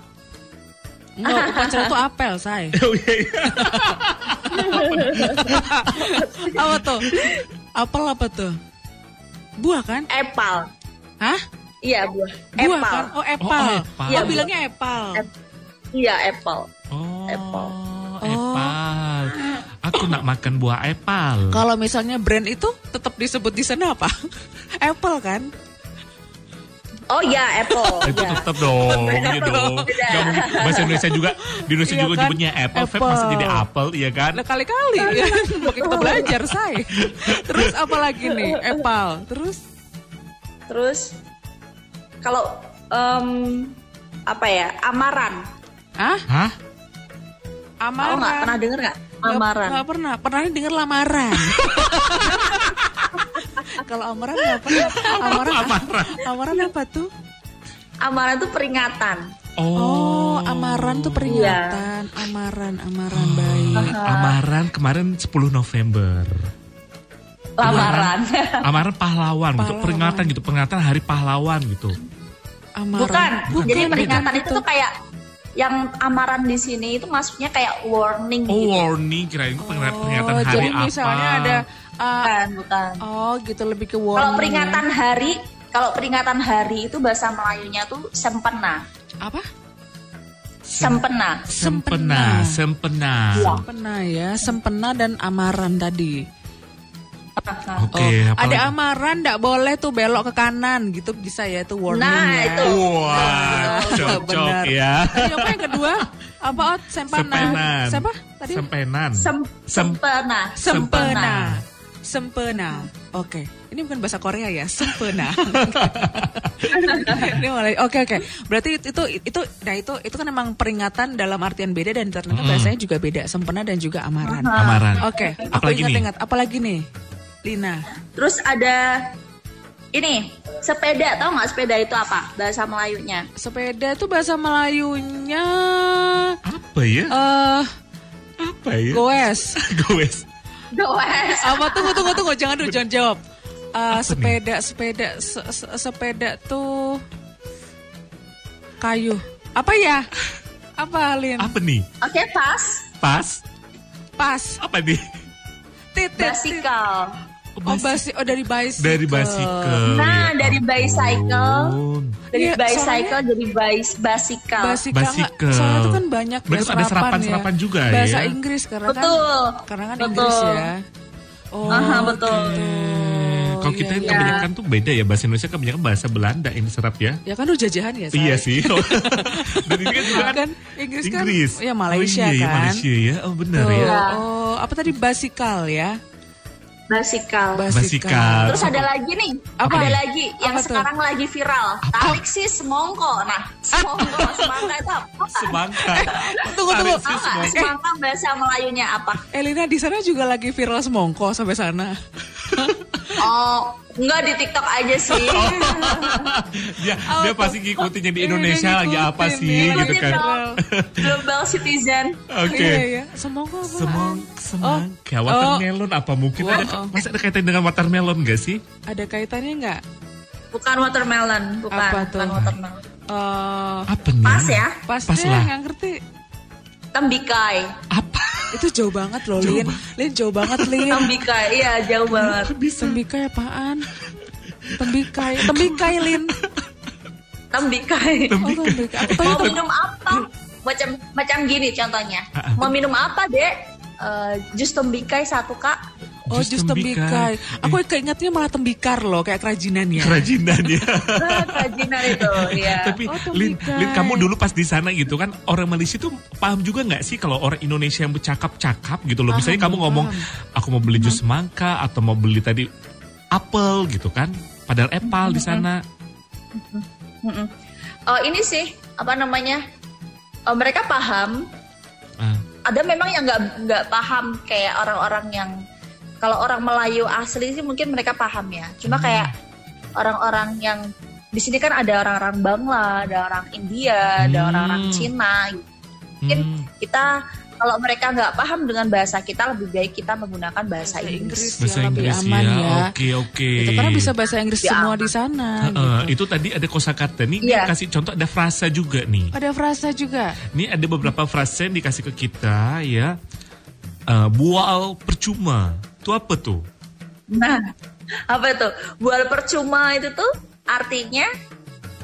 [SPEAKER 4] Enggak, upacara itu apel, say.
[SPEAKER 5] Oh iya, iya.
[SPEAKER 4] apa tuh? Apel apa tuh? Buah kan?
[SPEAKER 1] Epal.
[SPEAKER 4] Hah?
[SPEAKER 1] Iya, buah.
[SPEAKER 4] Buah
[SPEAKER 1] Epal.
[SPEAKER 4] kan? Oh, epal.
[SPEAKER 5] Oh, epal.
[SPEAKER 4] Iya,
[SPEAKER 1] Iya,
[SPEAKER 4] bilangnya epal.
[SPEAKER 1] Iya, epal.
[SPEAKER 5] Oh,
[SPEAKER 1] Apple.
[SPEAKER 5] Apple. Aku nak makan buah apple.
[SPEAKER 4] Oh. Kalau misalnya brand itu tetap disebut di sana apa? Apple kan?
[SPEAKER 1] Oh iya, apple.
[SPEAKER 5] Ya, Itu
[SPEAKER 1] Iya.
[SPEAKER 5] tetap dong, iya
[SPEAKER 1] Apple.
[SPEAKER 5] dong. Nggak mungkin. bahasa Indonesia juga, di Indonesia
[SPEAKER 4] Iya
[SPEAKER 5] juga
[SPEAKER 4] kan?
[SPEAKER 5] nyebutnya apple, vape masa
[SPEAKER 4] Apple.
[SPEAKER 5] jadi apple, iya kan?
[SPEAKER 4] Nah, kali-kali ya. Makin kita belajar, say. Terus apa lagi nih? Epal. Terus
[SPEAKER 1] Terus kalau em, apa ya? Amaran.
[SPEAKER 4] ah,
[SPEAKER 5] Hah?
[SPEAKER 1] Tahu
[SPEAKER 4] amaran.
[SPEAKER 1] nggak? Pernah denger nggak?
[SPEAKER 4] Nggak-
[SPEAKER 1] Amaran.
[SPEAKER 4] nggak pernah. Pernah dengar lamaran. Kalau amaran nggak pernah. Amaran apa? Amaran apa tuh?
[SPEAKER 1] Amaran itu peringatan.
[SPEAKER 4] Oh, amaran tuh peringatan.
[SPEAKER 1] Iya.
[SPEAKER 4] Amaran, amaran baik.
[SPEAKER 5] Amaran kemarin 10 November.
[SPEAKER 1] Lamaran.
[SPEAKER 5] Amaran pahlawan, untuk
[SPEAKER 4] Pahlawan.
[SPEAKER 5] peringatan gitu, peringatan hari pahlawan gitu.
[SPEAKER 4] Amaran.
[SPEAKER 1] Bukan. Jadi
[SPEAKER 4] Bukan, gitu.
[SPEAKER 1] peringatan
[SPEAKER 4] bukan
[SPEAKER 1] itu tuh kayak yang amaran di sini itu maksudnya kayak warning
[SPEAKER 5] Oh
[SPEAKER 1] gitu.
[SPEAKER 5] warning, kirain itu peringatan, peringatan
[SPEAKER 4] Oh,
[SPEAKER 5] hari
[SPEAKER 4] jadi
[SPEAKER 5] apa?
[SPEAKER 4] misalnya ada uh,
[SPEAKER 1] Bukan, bukan.
[SPEAKER 4] oh gitu lebih ke
[SPEAKER 1] Kalau
[SPEAKER 4] warning.
[SPEAKER 1] peringatan hari, kalau peringatan hari itu bahasa Melayunya tuh sempena.
[SPEAKER 4] apa?
[SPEAKER 1] Sempena.
[SPEAKER 5] sempena, sempena.
[SPEAKER 4] Sempena ya, sempena dan amaran tadi.
[SPEAKER 5] Oke, apa
[SPEAKER 4] Oh, ada
[SPEAKER 5] lagi?
[SPEAKER 4] amaran ndak boleh tuh belok ke kanan gitu bisa ya itu warning.
[SPEAKER 1] Nah,
[SPEAKER 4] ya.
[SPEAKER 1] itu.
[SPEAKER 5] Wah, cocok
[SPEAKER 4] Benar.
[SPEAKER 5] ya.
[SPEAKER 4] Ayo, apa yang kedua? Apa Ot? Sempana.
[SPEAKER 5] Sempenan.
[SPEAKER 4] Siapa tadi?
[SPEAKER 5] Sempenan.
[SPEAKER 1] Sem-
[SPEAKER 5] Sem-
[SPEAKER 1] sempena.
[SPEAKER 4] Sempena. Sempena. Oke. Ini bukan bahasa Korea ya, sempena. Ini mulai- Oke oke. Berarti itu itu itu nah itu itu kan emang peringatan dalam artian beda dan ternyata
[SPEAKER 5] Hmm.
[SPEAKER 4] bahasanya juga beda, sempena dan juga amaran.
[SPEAKER 5] Amaran.
[SPEAKER 4] Oke, aku
[SPEAKER 5] Apalagi nih?
[SPEAKER 4] ingat-ingat. Apalagi nih, Lina?
[SPEAKER 1] Terus ada ini sepeda, tahu nggak sepeda itu apa bahasa Melayunya?
[SPEAKER 4] Sepeda itu bahasa Melayunya
[SPEAKER 5] Apa ya?
[SPEAKER 4] eh
[SPEAKER 5] Apa ya?
[SPEAKER 4] goes.
[SPEAKER 5] Goes.
[SPEAKER 1] Goes.
[SPEAKER 4] Apa tunggu tunggu tunggu jangan dulu jangan jawab. Eh, sepeda sepeda se- se- sepeda tuh kayu. Apa ya? Apa Lin?
[SPEAKER 5] Apa nih?
[SPEAKER 1] Oke, pas
[SPEAKER 5] Pas?
[SPEAKER 4] Pas
[SPEAKER 5] Apa nih?
[SPEAKER 4] titik. titik.
[SPEAKER 1] bicycle.
[SPEAKER 4] Oh, basi, oh dari bicycle.
[SPEAKER 5] Dari bicycle. Ya
[SPEAKER 1] Nah, dari bicycle.
[SPEAKER 5] ampun.
[SPEAKER 1] Dari
[SPEAKER 4] Iya,
[SPEAKER 1] bicycle jadi bis- bicycle.
[SPEAKER 4] Basikel.
[SPEAKER 5] Basikel.
[SPEAKER 4] Soalnya itu kan banyak ya,
[SPEAKER 5] Banyak ada serapan-serapan
[SPEAKER 4] ya.
[SPEAKER 5] juga
[SPEAKER 4] Bahasa
[SPEAKER 5] ya.
[SPEAKER 4] Inggris karena kan
[SPEAKER 1] Betul.
[SPEAKER 4] karena kan
[SPEAKER 1] Betul.
[SPEAKER 4] Inggris ya. Oh,
[SPEAKER 1] Aha, betul.
[SPEAKER 5] Eh, Kalau kita
[SPEAKER 4] Iya,
[SPEAKER 5] yang kebanyakan tuh beda ya bahasa Indonesia kebanyakan bahasa Belanda yang diserap ya.
[SPEAKER 4] Ya kan lu jajahan ya, Shay?
[SPEAKER 5] Iya sih. Dan ini kan juga kan
[SPEAKER 4] Kan Inggris kan,
[SPEAKER 5] Inggris.
[SPEAKER 4] ya
[SPEAKER 5] oh,
[SPEAKER 4] Malaysia
[SPEAKER 5] iya, iya,
[SPEAKER 4] kan.
[SPEAKER 5] Malaysia ya. Oh benar
[SPEAKER 4] Tuh,
[SPEAKER 5] ya.
[SPEAKER 4] Oh, apa tadi basikal ya?
[SPEAKER 1] Bicycle.
[SPEAKER 5] Basikal.
[SPEAKER 1] Terus ada lagi nih,
[SPEAKER 4] Apa? ya?
[SPEAKER 1] ada lagi yang
[SPEAKER 4] Apa tuh?
[SPEAKER 1] sekarang lagi viral. Tarik sih semongko. Nah, semongko, semangka itu apa?
[SPEAKER 5] Semangka.
[SPEAKER 4] Tunggu tunggu.
[SPEAKER 1] Tahu nggak semangka bahasa Melayunya apa?
[SPEAKER 4] Elina di sana juga lagi viral semongko sampai sana.
[SPEAKER 1] Oh, enggak di TikTok aja sih.
[SPEAKER 4] Oh,
[SPEAKER 5] dia, dia pasti ngikutin yang di
[SPEAKER 4] Iya, dia
[SPEAKER 5] Indonesia lagi
[SPEAKER 4] ngikutin,
[SPEAKER 5] apa sih
[SPEAKER 4] iya.
[SPEAKER 5] gitu kan.
[SPEAKER 1] Ngikutin dong. Global citizen.
[SPEAKER 5] Oke.
[SPEAKER 4] Iya iya. Semongko apa?
[SPEAKER 5] Semong, semangka, watermelon apa mungkin ada,
[SPEAKER 4] Oh, oh.
[SPEAKER 5] masa ada kaitan dengan watermelon gak sih?
[SPEAKER 4] Ada kaitannya nggak?
[SPEAKER 1] Bukan watermelon, bukan.
[SPEAKER 4] Apa tuh?
[SPEAKER 1] Bukan watermelon.
[SPEAKER 4] Eh,
[SPEAKER 5] Apa nih?
[SPEAKER 1] Pas ya,
[SPEAKER 4] pas
[SPEAKER 5] Pas
[SPEAKER 4] deh,
[SPEAKER 5] lah.
[SPEAKER 4] nggak ngerti.
[SPEAKER 1] tembikai.
[SPEAKER 5] Apa?
[SPEAKER 4] Itu jauh banget loh, Lin. Lin jauh banget, Lin.
[SPEAKER 1] Tembikai, iya jauh banget.
[SPEAKER 4] Tembikai apaan? Tembikai, tembikai Lin.
[SPEAKER 1] Tembikai.
[SPEAKER 4] Oh, tembikai.
[SPEAKER 1] Mau
[SPEAKER 4] Aku tanya
[SPEAKER 1] minum apa? Macam macam gini contohnya.
[SPEAKER 5] Ah.
[SPEAKER 1] Mau minum apa, Dek? Eh, jus tembikai satu, Kak.
[SPEAKER 4] Oh,
[SPEAKER 5] Jus
[SPEAKER 4] jus tembikai. Aku keingetnya malah tembikar loh, kayak kerajinan ya.
[SPEAKER 5] Kerajinan ya.
[SPEAKER 1] Ah, Kerajinan itu, iya.
[SPEAKER 5] Tapi
[SPEAKER 4] Oh,
[SPEAKER 5] Lin,
[SPEAKER 4] tembikai.
[SPEAKER 5] Lin, kamu dulu pas di sana gitu kan orang Malaysia tuh paham juga nggak sih kalau orang Indonesia yang bercakap-cakap gitu loh. Misalnya kamu ngomong aku mau beli jus semangka atau mau beli tadi apel gitu kan. Padahal
[SPEAKER 4] Hmm,
[SPEAKER 5] epal di sana.
[SPEAKER 1] Mm-mm. Eh, ini sih apa namanya? Eh, mereka paham.
[SPEAKER 5] Ah,
[SPEAKER 1] Ada memang yang nggak nggak paham kayak orang-orang yang
[SPEAKER 5] Hmm.
[SPEAKER 1] kalau orang Melayu asli sih mungkin mereka paham ya. Cuma kayak orang-orang yang di sini kan ada orang-orang Bangla, ada orang India, ada
[SPEAKER 5] Hmm.
[SPEAKER 1] orang-orang Cina. gitu. Mungkin
[SPEAKER 5] Hmm.
[SPEAKER 1] kita kalau mereka nggak paham dengan bahasa kita lebih baik kita menggunakan bahasa Inggris.
[SPEAKER 5] bahasa
[SPEAKER 4] yang lebih
[SPEAKER 5] Inggris
[SPEAKER 4] aman
[SPEAKER 5] ya.
[SPEAKER 4] ya.
[SPEAKER 5] Oke, oke.
[SPEAKER 4] Itu karena bisa bahasa Inggris
[SPEAKER 1] Ya.
[SPEAKER 4] semua di sana.
[SPEAKER 5] Heeh,
[SPEAKER 4] gitu.
[SPEAKER 5] Itu tadi ada kosakata nih, dia
[SPEAKER 1] Iya.
[SPEAKER 5] kasih contoh ada frasa juga nih.
[SPEAKER 4] Ada frasa juga.
[SPEAKER 5] Ini ada beberapa frasa yang dikasih ke kita ya. Eh, bual percuma. Itu apa tuh?
[SPEAKER 1] Nah, apa itu? Bual percuma itu tuh artinya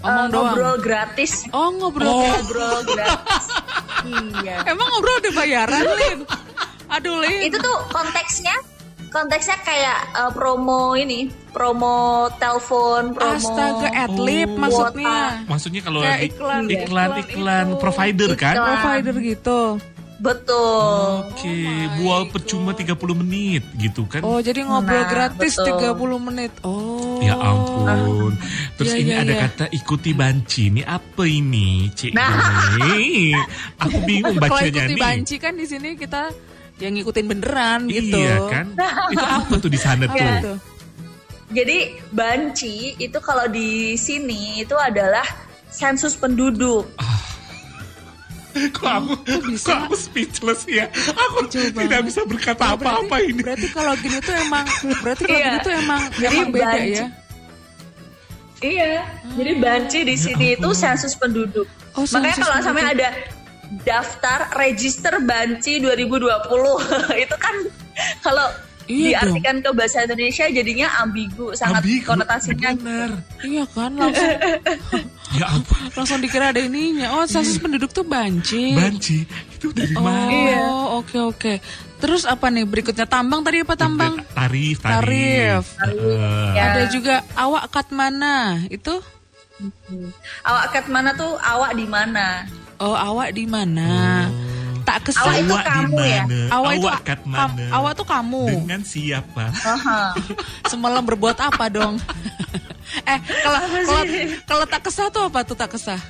[SPEAKER 4] Omong
[SPEAKER 1] eh,
[SPEAKER 4] doang.
[SPEAKER 1] ngobrol gratis.
[SPEAKER 4] Oh ngobrol.
[SPEAKER 1] Ngobrol gratis. iya.
[SPEAKER 4] Emang ngobrol ada bayaran, Lin? Aduh, Lin.
[SPEAKER 1] Itu tuh konteksnya konteksnya kayak eh, promo ini, promo telepon, promo
[SPEAKER 4] Astaga,
[SPEAKER 5] Oh.
[SPEAKER 4] adlib maksudnya.
[SPEAKER 5] Maksudnya kalau
[SPEAKER 4] Kayak
[SPEAKER 5] di-
[SPEAKER 4] iklan, ya?
[SPEAKER 5] iklan,
[SPEAKER 4] iklan
[SPEAKER 5] iklan
[SPEAKER 4] itu.
[SPEAKER 5] provider kan?
[SPEAKER 1] Iklan.
[SPEAKER 4] Provider gitu.
[SPEAKER 1] Betul.
[SPEAKER 5] Oke,
[SPEAKER 4] Oh my
[SPEAKER 5] bual percuma 30 menit gitu kan.
[SPEAKER 4] Oh, jadi ngobrol
[SPEAKER 1] Nah,
[SPEAKER 4] gratis
[SPEAKER 1] betul.
[SPEAKER 4] 30 menit. Oh.
[SPEAKER 5] Ya ampun. Terus
[SPEAKER 4] Iya,
[SPEAKER 5] ini
[SPEAKER 4] iya,
[SPEAKER 5] ada
[SPEAKER 4] iya.
[SPEAKER 5] kata ikuti banci. Ini apa ini, Cik? Ini? Aku bingung
[SPEAKER 4] Kalau
[SPEAKER 5] bacanya
[SPEAKER 4] Nah. ikuti
[SPEAKER 5] nih.
[SPEAKER 4] banci kan di sini kita yang ngikutin beneran gitu. Iya kan?
[SPEAKER 5] Iya kan? Itu apa tuh di sana
[SPEAKER 4] Apa
[SPEAKER 5] tuh?
[SPEAKER 4] tuh?
[SPEAKER 1] Jadi banci itu kalau di sini itu adalah sensus penduduk.
[SPEAKER 2] Kok aku,
[SPEAKER 4] bisa?
[SPEAKER 2] kok aku speechless ya? Aku tidak bisa berkata apa-apa ini.
[SPEAKER 4] Berarti kalau gini tuh emang berarti kalau
[SPEAKER 1] Iya.
[SPEAKER 4] gini tuh emang
[SPEAKER 1] Jadi
[SPEAKER 4] emang beda
[SPEAKER 1] banci.
[SPEAKER 4] ya.
[SPEAKER 1] Iya. Jadi banci di sini itu sensus penduduk.
[SPEAKER 4] Hmm. Ya Oh,
[SPEAKER 1] Makanya
[SPEAKER 4] sensus
[SPEAKER 1] kalau
[SPEAKER 4] penduduk.
[SPEAKER 1] sampai ada daftar register banci 2020 itu kan kalau
[SPEAKER 4] Iya dong.
[SPEAKER 1] diartikan ke bahasa Indonesia jadinya ambigu sangat
[SPEAKER 2] Ambigu,
[SPEAKER 1] konotasinya
[SPEAKER 5] Bener.
[SPEAKER 4] Iya kan langsung
[SPEAKER 5] Ya ampun.
[SPEAKER 4] langsung dikira ada ininya. Oh, sensus penduduk tuh banci.
[SPEAKER 5] Iya. Banci itu dari
[SPEAKER 4] Oh,
[SPEAKER 5] mana?
[SPEAKER 1] Iya.
[SPEAKER 4] oke oke. Terus apa nih berikutnya tambang tadi apa tambang?
[SPEAKER 5] Tarif, tarif.
[SPEAKER 4] Tarif.
[SPEAKER 5] Heeh.
[SPEAKER 1] Ya.
[SPEAKER 4] Ada juga awak kat mana? Itu
[SPEAKER 1] awak kat mana tuh awak di mana
[SPEAKER 4] oh awak di mana? Tak
[SPEAKER 1] Awak
[SPEAKER 4] kesel.
[SPEAKER 1] itu
[SPEAKER 5] Awak di
[SPEAKER 1] kamu ya?
[SPEAKER 5] mana?
[SPEAKER 4] Awak itu
[SPEAKER 5] kat
[SPEAKER 4] kam-
[SPEAKER 5] mana?
[SPEAKER 4] awak tuh kamu.
[SPEAKER 5] Dengan siapa?
[SPEAKER 1] Aha.
[SPEAKER 4] Semalam berbuat apa dong? eh, kalau kalau kalau tak kesah tuh apa tuh tak kesah?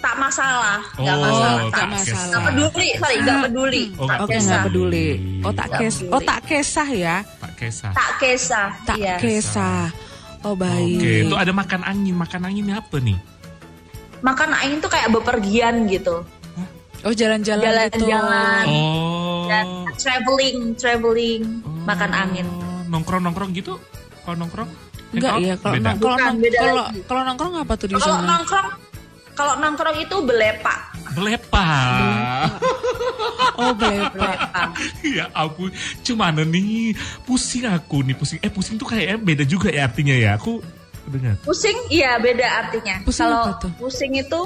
[SPEAKER 1] tak masalah nggak
[SPEAKER 5] Oh,
[SPEAKER 1] masalah
[SPEAKER 5] tak
[SPEAKER 1] tak
[SPEAKER 5] masalah.
[SPEAKER 1] nggak peduli sorry nggak peduli tak
[SPEAKER 5] Oh, nggak
[SPEAKER 4] Hmm. Oke,
[SPEAKER 1] kesah
[SPEAKER 4] nggak peduli. Oh, tak
[SPEAKER 1] Nggak
[SPEAKER 4] kes
[SPEAKER 1] peduli.
[SPEAKER 4] Oh, tak kesah ya.
[SPEAKER 5] Pak Kesah.
[SPEAKER 1] tak kesah
[SPEAKER 4] Tak
[SPEAKER 1] iya.
[SPEAKER 4] kesah. Oh, baik.
[SPEAKER 5] Oke, itu ada makan angin. Makan angin apa nih?
[SPEAKER 1] makan angin tuh kayak bepergian gitu
[SPEAKER 4] Oh, jalan-jalan gitu.
[SPEAKER 1] Jalan-jalan.
[SPEAKER 5] Oh.
[SPEAKER 1] dan traveling traveling
[SPEAKER 4] Oh.
[SPEAKER 1] makan angin
[SPEAKER 5] Nongkrong nongkrong Oh, gitu? Kalau nongkrong?
[SPEAKER 4] Enggak
[SPEAKER 5] Hangout?
[SPEAKER 4] ya, kalau
[SPEAKER 5] Beda.
[SPEAKER 4] nong- kalau
[SPEAKER 1] Bukan,
[SPEAKER 4] nong-
[SPEAKER 1] beda
[SPEAKER 4] kalau
[SPEAKER 1] lagi.
[SPEAKER 4] kalau nongkrong apa tuh di
[SPEAKER 1] kalau
[SPEAKER 4] sana?
[SPEAKER 1] nongkrong kalau nongkrong itu belepak
[SPEAKER 5] Belepah.
[SPEAKER 4] Oh, belepak.
[SPEAKER 1] belepak
[SPEAKER 5] ya ampun, cuman nih pusing aku nih pusing. Eh pusing tuh kayaknya beda juga ya artinya ya. Aku dengar.
[SPEAKER 1] pusing iya beda artinya
[SPEAKER 4] Pusing
[SPEAKER 1] kalau
[SPEAKER 4] apa tuh?
[SPEAKER 1] pusing itu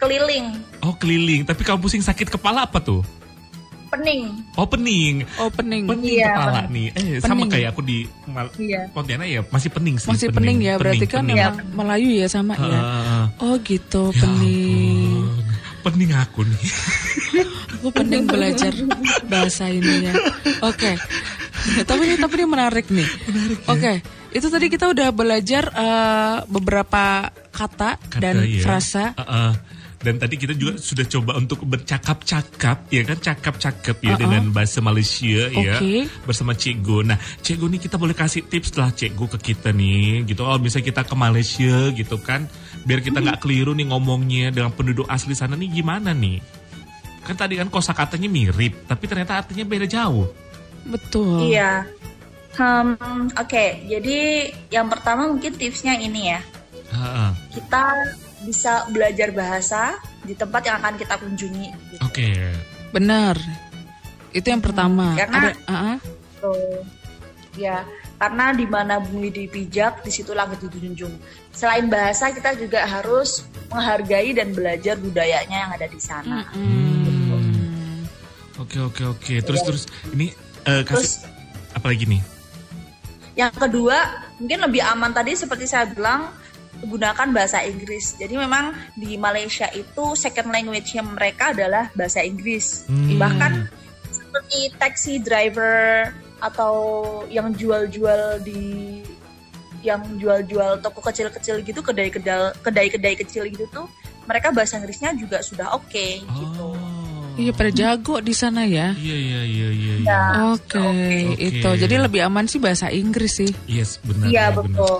[SPEAKER 1] keliling
[SPEAKER 5] Oh keliling. Tapi kalau pusing sakit kepala apa tuh?
[SPEAKER 1] pening
[SPEAKER 5] Oh pening.
[SPEAKER 4] Opening.
[SPEAKER 5] Pening
[SPEAKER 1] Iya,
[SPEAKER 5] kepala nih. Eh sama
[SPEAKER 4] Pening.
[SPEAKER 5] kayak aku di Mal-
[SPEAKER 1] Iya.
[SPEAKER 5] Pontianak ya masih pening sih.
[SPEAKER 4] Masih pening, ya, berarti kan
[SPEAKER 5] pening.
[SPEAKER 4] emang Melayu ya sama ya.
[SPEAKER 5] Heeh.
[SPEAKER 4] Oh, gitu,
[SPEAKER 5] Ya
[SPEAKER 4] pening.
[SPEAKER 5] ampun, Pening aku nih.
[SPEAKER 4] Aku penting belajar bahasa ininya. Oke. tapi ini tapi ini menarik nih. Oke. Itu tadi kita udah belajar eh, beberapa kata,
[SPEAKER 5] Kata
[SPEAKER 4] dan
[SPEAKER 5] ya.
[SPEAKER 4] frasa.
[SPEAKER 5] Heeh. Dan tadi kita juga sudah coba untuk bercakap-cakap, ya kan cakap-cakap ya dengan bahasa Malaysia ya
[SPEAKER 4] Oke.
[SPEAKER 5] bersama Cikgu. Nah, Cikgu nih kita boleh kasih tips lah Cikgu ke kita nih, gitu. Oh, misalnya kita ke Malaysia gitu kan, biar kita
[SPEAKER 4] Hmm.
[SPEAKER 5] nggak keliru nih ngomongnya dengan penduduk asli sana nih gimana nih? Kan tadi kan kosakatanya mirip, tapi ternyata artinya beda jauh.
[SPEAKER 4] Betul.
[SPEAKER 1] iya Hmm, oke jadi yang pertama mungkin tipsnya ini ya
[SPEAKER 5] Heeh.
[SPEAKER 1] kita bisa belajar bahasa di tempat yang akan kita kunjungi gitu.
[SPEAKER 5] Oke.
[SPEAKER 4] Benar. Itu yang pertama.
[SPEAKER 1] Karena-
[SPEAKER 4] Ada- ah, ah.
[SPEAKER 1] Gitu. Ya, karena di mana bumi dipijak, di situ langit dijunjung. Selain bahasa, kita juga harus menghargai dan belajar budayanya yang ada di sana.
[SPEAKER 4] Hmm. Ya.
[SPEAKER 5] Oke, oke, oke. Terus terus ini eh, kasih
[SPEAKER 1] Terus
[SPEAKER 5] apa lagi nih?
[SPEAKER 1] yang kedua, mungkin lebih aman tadi seperti saya bilang gunakan bahasa Inggris. Jadi memang di Malaysia itu second language-nya mereka adalah bahasa Inggris.
[SPEAKER 5] Hmm.
[SPEAKER 1] Bahkan seperti taxi driver atau yang jual-jual di yang jual-jual toko kecil-kecil gitu kedai-kedai kedai-kedai kecil gitu tuh mereka bahasa Inggrisnya juga sudah oke gitu.
[SPEAKER 5] Oh.
[SPEAKER 4] Iya pada jago di sana ya.
[SPEAKER 5] Iya iya iya iya. iya.
[SPEAKER 1] Ya,
[SPEAKER 4] Oke,
[SPEAKER 1] oke.
[SPEAKER 4] itu. Jadi lebih aman sih bahasa Inggris sih.
[SPEAKER 5] Yes benar.
[SPEAKER 1] Iya
[SPEAKER 5] benar, benar.
[SPEAKER 1] betul.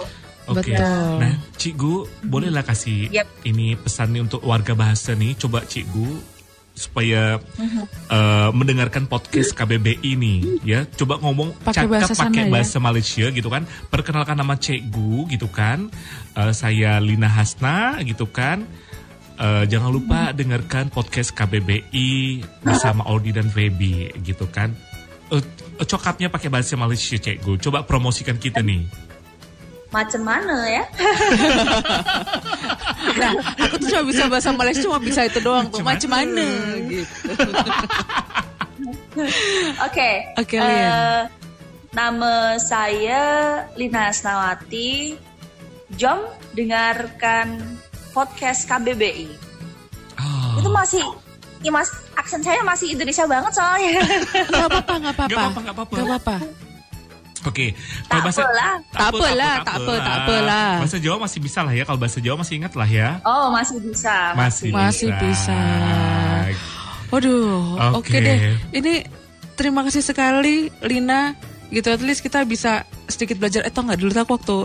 [SPEAKER 5] Oke.
[SPEAKER 4] Betul.
[SPEAKER 5] Nah, Cikgu, bolehlah kasih
[SPEAKER 1] Yap.
[SPEAKER 5] ini pesan nih untuk warga bahasa nih. Coba Cikgu supaya
[SPEAKER 4] Mm-hmm.
[SPEAKER 5] eh, mendengarkan podcast KBB ini ya. Coba ngomong cakap
[SPEAKER 4] Pakai bahasa sana
[SPEAKER 5] pakai
[SPEAKER 4] ya.
[SPEAKER 5] bahasa Malaysia gitu kan. Perkenalkan nama Cikgu gitu kan. Eh, saya Lina Hasna gitu kan. Eh, jangan lupa
[SPEAKER 4] Mm-hmm.
[SPEAKER 5] dengarkan podcast KBBI bersama Audi dan Feby gitu kan. Eh, cokapnya pakai bahasa Malaysia Cikgu. Coba promosikan kita nih.
[SPEAKER 1] Macem mana ya?
[SPEAKER 4] Nah, aku tuh cuma bisa bahasa Malaysia cuma bisa itu doang tuh. Macam mana gitu.
[SPEAKER 1] Oke.
[SPEAKER 4] Oke,
[SPEAKER 1] Eh,
[SPEAKER 4] Lin.
[SPEAKER 1] Nama saya Lina Asnawati. Jom dengarkan podcast KBBI.
[SPEAKER 4] Oh.
[SPEAKER 5] Ah.
[SPEAKER 1] Itu masih ya mas, aksen saya masih Indonesia banget soalnya.
[SPEAKER 4] Gak apa-apa, gak apa-apa.
[SPEAKER 5] Nggak apa-apa, nggak apa-apa.
[SPEAKER 4] Nggak apa-apa.
[SPEAKER 5] Oke,
[SPEAKER 1] Tak apalah.
[SPEAKER 4] Tak apalah, tak apa, tak apalah.
[SPEAKER 5] Bahasa Jawa masih bisa lah ya, kalau bahasa Jawa masih ingat lah ya.
[SPEAKER 1] Oh, masih bisa.
[SPEAKER 5] Masih,
[SPEAKER 4] Masih bisa. Waduh, oke
[SPEAKER 5] Oke.
[SPEAKER 4] deh. Ini terima kasih sekali Lina. Gitu at least kita bisa sedikit belajar. Eh tau nggak dulu tuh aku waktu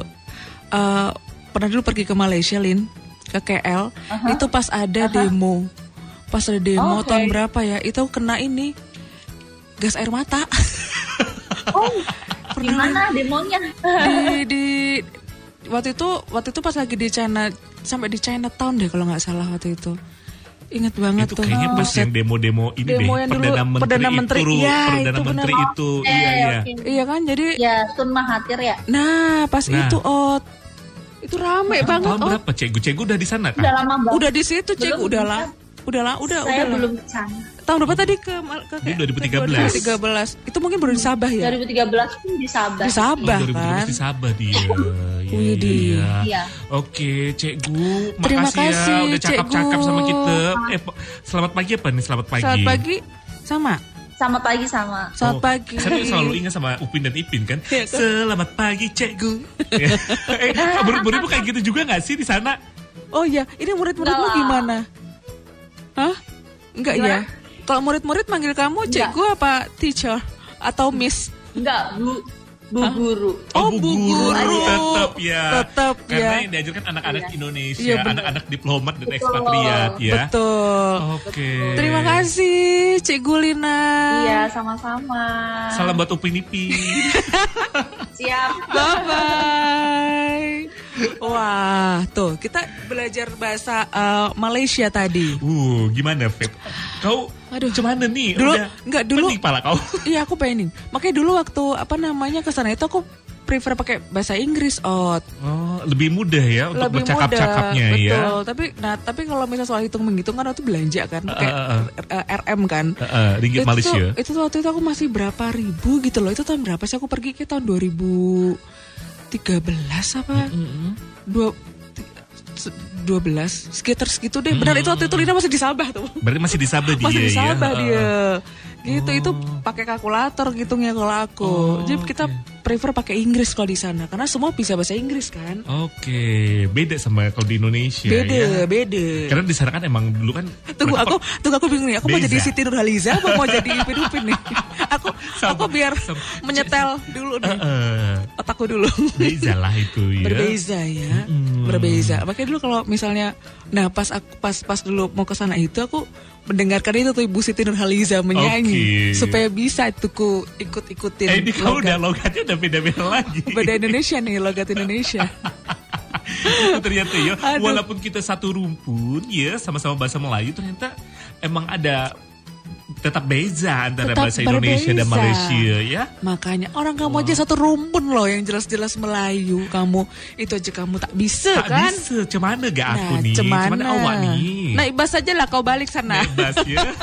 [SPEAKER 4] eh, pernah dulu pergi ke Malaysia, Lin, ke KL. Itu pas ada demo. Pas ada demo
[SPEAKER 1] Oke.
[SPEAKER 4] tahun berapa ya? Itu aku kena ini gas air mata
[SPEAKER 1] Oh, gimana demonya?
[SPEAKER 4] Oh, di di waktu itu waktu itu pas lagi di China sampai di Chinatown deh kalau nggak salah waktu itu. Ingat banget
[SPEAKER 5] Itu
[SPEAKER 4] tuh.
[SPEAKER 5] kayaknya pas ya.
[SPEAKER 4] Buset.
[SPEAKER 5] yang demo-demo ini deh,
[SPEAKER 4] Demo yang dulu,
[SPEAKER 5] Perdana Menteri
[SPEAKER 4] Perdana Menteri,
[SPEAKER 5] itu,
[SPEAKER 4] iya,
[SPEAKER 5] Perdana
[SPEAKER 4] itu benar.
[SPEAKER 5] Menteri itu, iya, iya.
[SPEAKER 1] Eh, oke.
[SPEAKER 4] Iya kan? Jadi
[SPEAKER 1] Ya, Tun Mahathir ya.
[SPEAKER 4] Nah, pas
[SPEAKER 5] Nah.
[SPEAKER 4] itu Ot. Itu rame banget
[SPEAKER 5] Tahun
[SPEAKER 4] Ot.
[SPEAKER 5] berapa, Cikgu? Cikgu udah di sana kan?
[SPEAKER 1] Udah lama banget.
[SPEAKER 4] Udah di situ, Cek.
[SPEAKER 1] Belum,
[SPEAKER 4] Udah lah. Udah lah, udah,
[SPEAKER 1] saya
[SPEAKER 4] udah lah.
[SPEAKER 1] belum ke sana.
[SPEAKER 4] Tahun berapa tadi ke, ke, ke
[SPEAKER 5] Dia 2013.
[SPEAKER 4] 2013. Itu mungkin baru di Sabah ya?
[SPEAKER 1] 2013 pun di Sabah.
[SPEAKER 4] Di Sabah
[SPEAKER 5] Oh, 2017
[SPEAKER 4] kan?
[SPEAKER 5] di Sabah dia. Iya,
[SPEAKER 4] Wih,
[SPEAKER 5] iya,
[SPEAKER 4] dia.
[SPEAKER 5] iya.
[SPEAKER 1] Iya.
[SPEAKER 5] Oke, Cikgu,
[SPEAKER 4] Terima
[SPEAKER 5] makasih
[SPEAKER 4] kasih,
[SPEAKER 5] ya udah cakap-cakap
[SPEAKER 4] Cikgu.
[SPEAKER 5] sama kita. Eh, po- selamat pagi apa nih? Selamat pagi.
[SPEAKER 4] Saat pagi sama.
[SPEAKER 1] Sama pagi sama.
[SPEAKER 4] Saat
[SPEAKER 5] Oh,
[SPEAKER 4] pagi.
[SPEAKER 5] Saya tuh selalu ingat sama Upin dan Ipin kan.
[SPEAKER 4] Iya, kan?
[SPEAKER 5] Selamat pagi cikgu. Ya. eh, murid-murid tuh kayak gitu juga gak sih di sana?
[SPEAKER 4] Oh iya, ini murid-muridmu
[SPEAKER 1] Enggak lah.
[SPEAKER 4] gimana? Hah? Enggak ya?
[SPEAKER 1] Gimana?
[SPEAKER 4] Kalau murid-murid manggil kamu cikgu apa teacher atau miss?
[SPEAKER 1] Enggak, Bu. Bu guru.
[SPEAKER 4] Oh, Bu Guru.
[SPEAKER 5] Tetap ya.
[SPEAKER 4] Tetap
[SPEAKER 5] Karena
[SPEAKER 4] ya.
[SPEAKER 5] yang diajarkan anak-anak Indonesia,
[SPEAKER 4] Iya, bener.
[SPEAKER 5] anak-anak diplomat dan
[SPEAKER 1] Betul.
[SPEAKER 5] ekspatriat ya.
[SPEAKER 4] Betul.
[SPEAKER 5] Oke.
[SPEAKER 4] Terima kasih Cikgu Lina.
[SPEAKER 1] Iya, sama-sama.
[SPEAKER 5] Salam buat Upin Ipin.
[SPEAKER 1] Siap.
[SPEAKER 4] Bye bye. Wah, tuh kita belajar bahasa eh, Malaysia tadi.
[SPEAKER 5] uh, gimana Feb? Kau
[SPEAKER 4] Aduh.
[SPEAKER 5] cuman nih?
[SPEAKER 4] Dulu-
[SPEAKER 5] Udah
[SPEAKER 4] nggak, dulu-
[SPEAKER 5] pening pala kau.
[SPEAKER 4] Iya, aku pengenin. Makanya dulu waktu apa namanya ke sana itu aku prefer pakai bahasa Inggris, Ot.
[SPEAKER 5] Oh, lebih mudah ya untuk
[SPEAKER 4] Lebih mudah.
[SPEAKER 5] bercakap-cakapnya
[SPEAKER 4] Betul.
[SPEAKER 5] ya.
[SPEAKER 4] Tapi nah, tapi kalau misalnya soal hitung menghitung kan waktu belanja kan pakai
[SPEAKER 5] Eh, eh,
[SPEAKER 4] eh, RM kan.
[SPEAKER 5] Eh, eh, ringgit
[SPEAKER 4] itu,
[SPEAKER 5] Malaysia.
[SPEAKER 4] Itu tuh waktu itu aku masih berapa ribu gitu loh. Itu tahun berapa sih aku pergi ke tahun 2013 apa? Dua tiga- se- 12 sekitar segitu deh. Benar itu waktu itu Lina masih di Sabah tuh.
[SPEAKER 5] Berarti masih di Sabah dia
[SPEAKER 4] Masih di
[SPEAKER 5] ya.
[SPEAKER 4] Sabah
[SPEAKER 5] Eh, eh.
[SPEAKER 4] dia. Gitu itu
[SPEAKER 5] Oh.
[SPEAKER 4] pakai kalkulator ngitungnya kalau aku. Jadi kita prefer pakai Inggris kalau di sana karena semua bisa bahasa Inggris kan.
[SPEAKER 5] Oke, beda sama kalau di Indonesia ya.
[SPEAKER 4] Beda, beda.
[SPEAKER 5] Karena di sana kan emang dulu kan
[SPEAKER 4] Tunggu aku, tunggu aku bingung nih. Aku mau
[SPEAKER 5] Beza.
[SPEAKER 4] jadi Siti Nurhaliza apa mau jadi Ipin Upin nih? Aku
[SPEAKER 5] Sama,
[SPEAKER 4] aku biar
[SPEAKER 5] sama.
[SPEAKER 4] menyetel dulu nih
[SPEAKER 5] eh,
[SPEAKER 4] otakku dulu.
[SPEAKER 5] beda lah itu ya.
[SPEAKER 4] Berbeza ya,
[SPEAKER 5] Mm-mm.
[SPEAKER 4] berbeza. Makanya dulu kalau misalnya, nah pas aku pas pas dulu mau ke sana itu aku mendengarkan itu tuh Ibu Siti Nurhaliza
[SPEAKER 5] Oke.
[SPEAKER 4] menyanyi supaya bisa itu ku ikut-ikutin.
[SPEAKER 5] Eh, ini kau
[SPEAKER 4] logat.
[SPEAKER 5] udah logatnya udah beda-beda lagi.
[SPEAKER 4] Beda Indonesia nih logat Indonesia.
[SPEAKER 5] Itu ternyata ya,
[SPEAKER 4] Aduh.
[SPEAKER 5] walaupun kita satu rumpun ya, sama-sama bahasa Melayu ternyata emang ada tetap beza antara
[SPEAKER 4] Tetap
[SPEAKER 5] bahasa Indonesia dan
[SPEAKER 4] berbeza.
[SPEAKER 5] Malaysia ya.
[SPEAKER 4] Makanya orang kamu aja satu rumpun loh yang jelas-jelas Melayu kamu itu aja kamu tak bisa
[SPEAKER 5] Tak
[SPEAKER 4] kan?
[SPEAKER 5] bisa, cemana gak aku
[SPEAKER 4] nah,
[SPEAKER 5] nih?
[SPEAKER 4] cemana?
[SPEAKER 5] awak nih?
[SPEAKER 4] Nah, ibas aja lah kau balik sana.
[SPEAKER 5] bebas ya.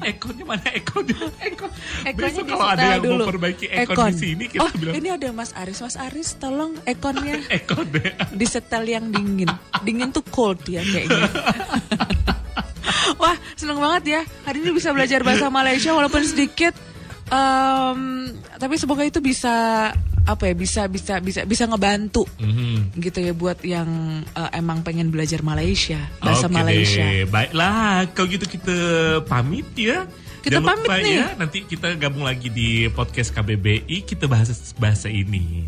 [SPEAKER 5] Ekornya mana ekornya? Ekor.
[SPEAKER 4] Ekornya
[SPEAKER 5] Besok
[SPEAKER 4] di
[SPEAKER 5] kalau ada yang
[SPEAKER 4] setel Nah, dulu.
[SPEAKER 5] mau perbaiki ekor di sini kita
[SPEAKER 4] oh,
[SPEAKER 5] bilang
[SPEAKER 4] ini ada Mas Aris. Mas Aris tolong ekornya
[SPEAKER 5] ekor deh.
[SPEAKER 4] disetel yang dingin. Dingin tuh cold ya kayaknya. Wah, seneng banget ya. Hari ini bisa belajar bahasa Malaysia walaupun sedikit. Em, tapi semoga itu bisa apa ya bisa bisa bisa bisa ngebantu
[SPEAKER 5] Mhm.
[SPEAKER 4] gitu ya buat yang eh, emang pengen belajar Malaysia bahasa
[SPEAKER 5] Oke
[SPEAKER 4] Malaysia.
[SPEAKER 5] Deh. Baiklah, kalau gitu kita pamit ya.
[SPEAKER 4] Kita
[SPEAKER 5] Jangan lupa
[SPEAKER 4] pamit nih.
[SPEAKER 5] ya, nanti kita gabung lagi di podcast KBBI, kita bahas bahasa ini.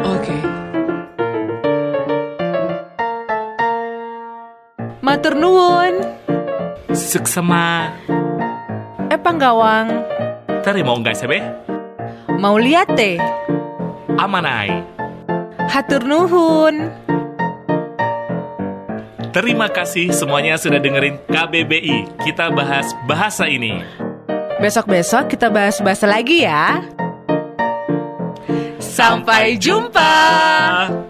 [SPEAKER 4] Oke. Matur nuwun,
[SPEAKER 5] Suksema
[SPEAKER 4] epanggawang,
[SPEAKER 5] terima ya? nggak sebe
[SPEAKER 4] mauliate,
[SPEAKER 5] amanai.
[SPEAKER 4] hatur nuhun.
[SPEAKER 5] Terima kasih semuanya sudah dengerin KBBI. Kita bahas bahasa ini.
[SPEAKER 4] Besok-besok kita bahas bahasa lagi ya. Sampai jumpa.
[SPEAKER 5] Ah.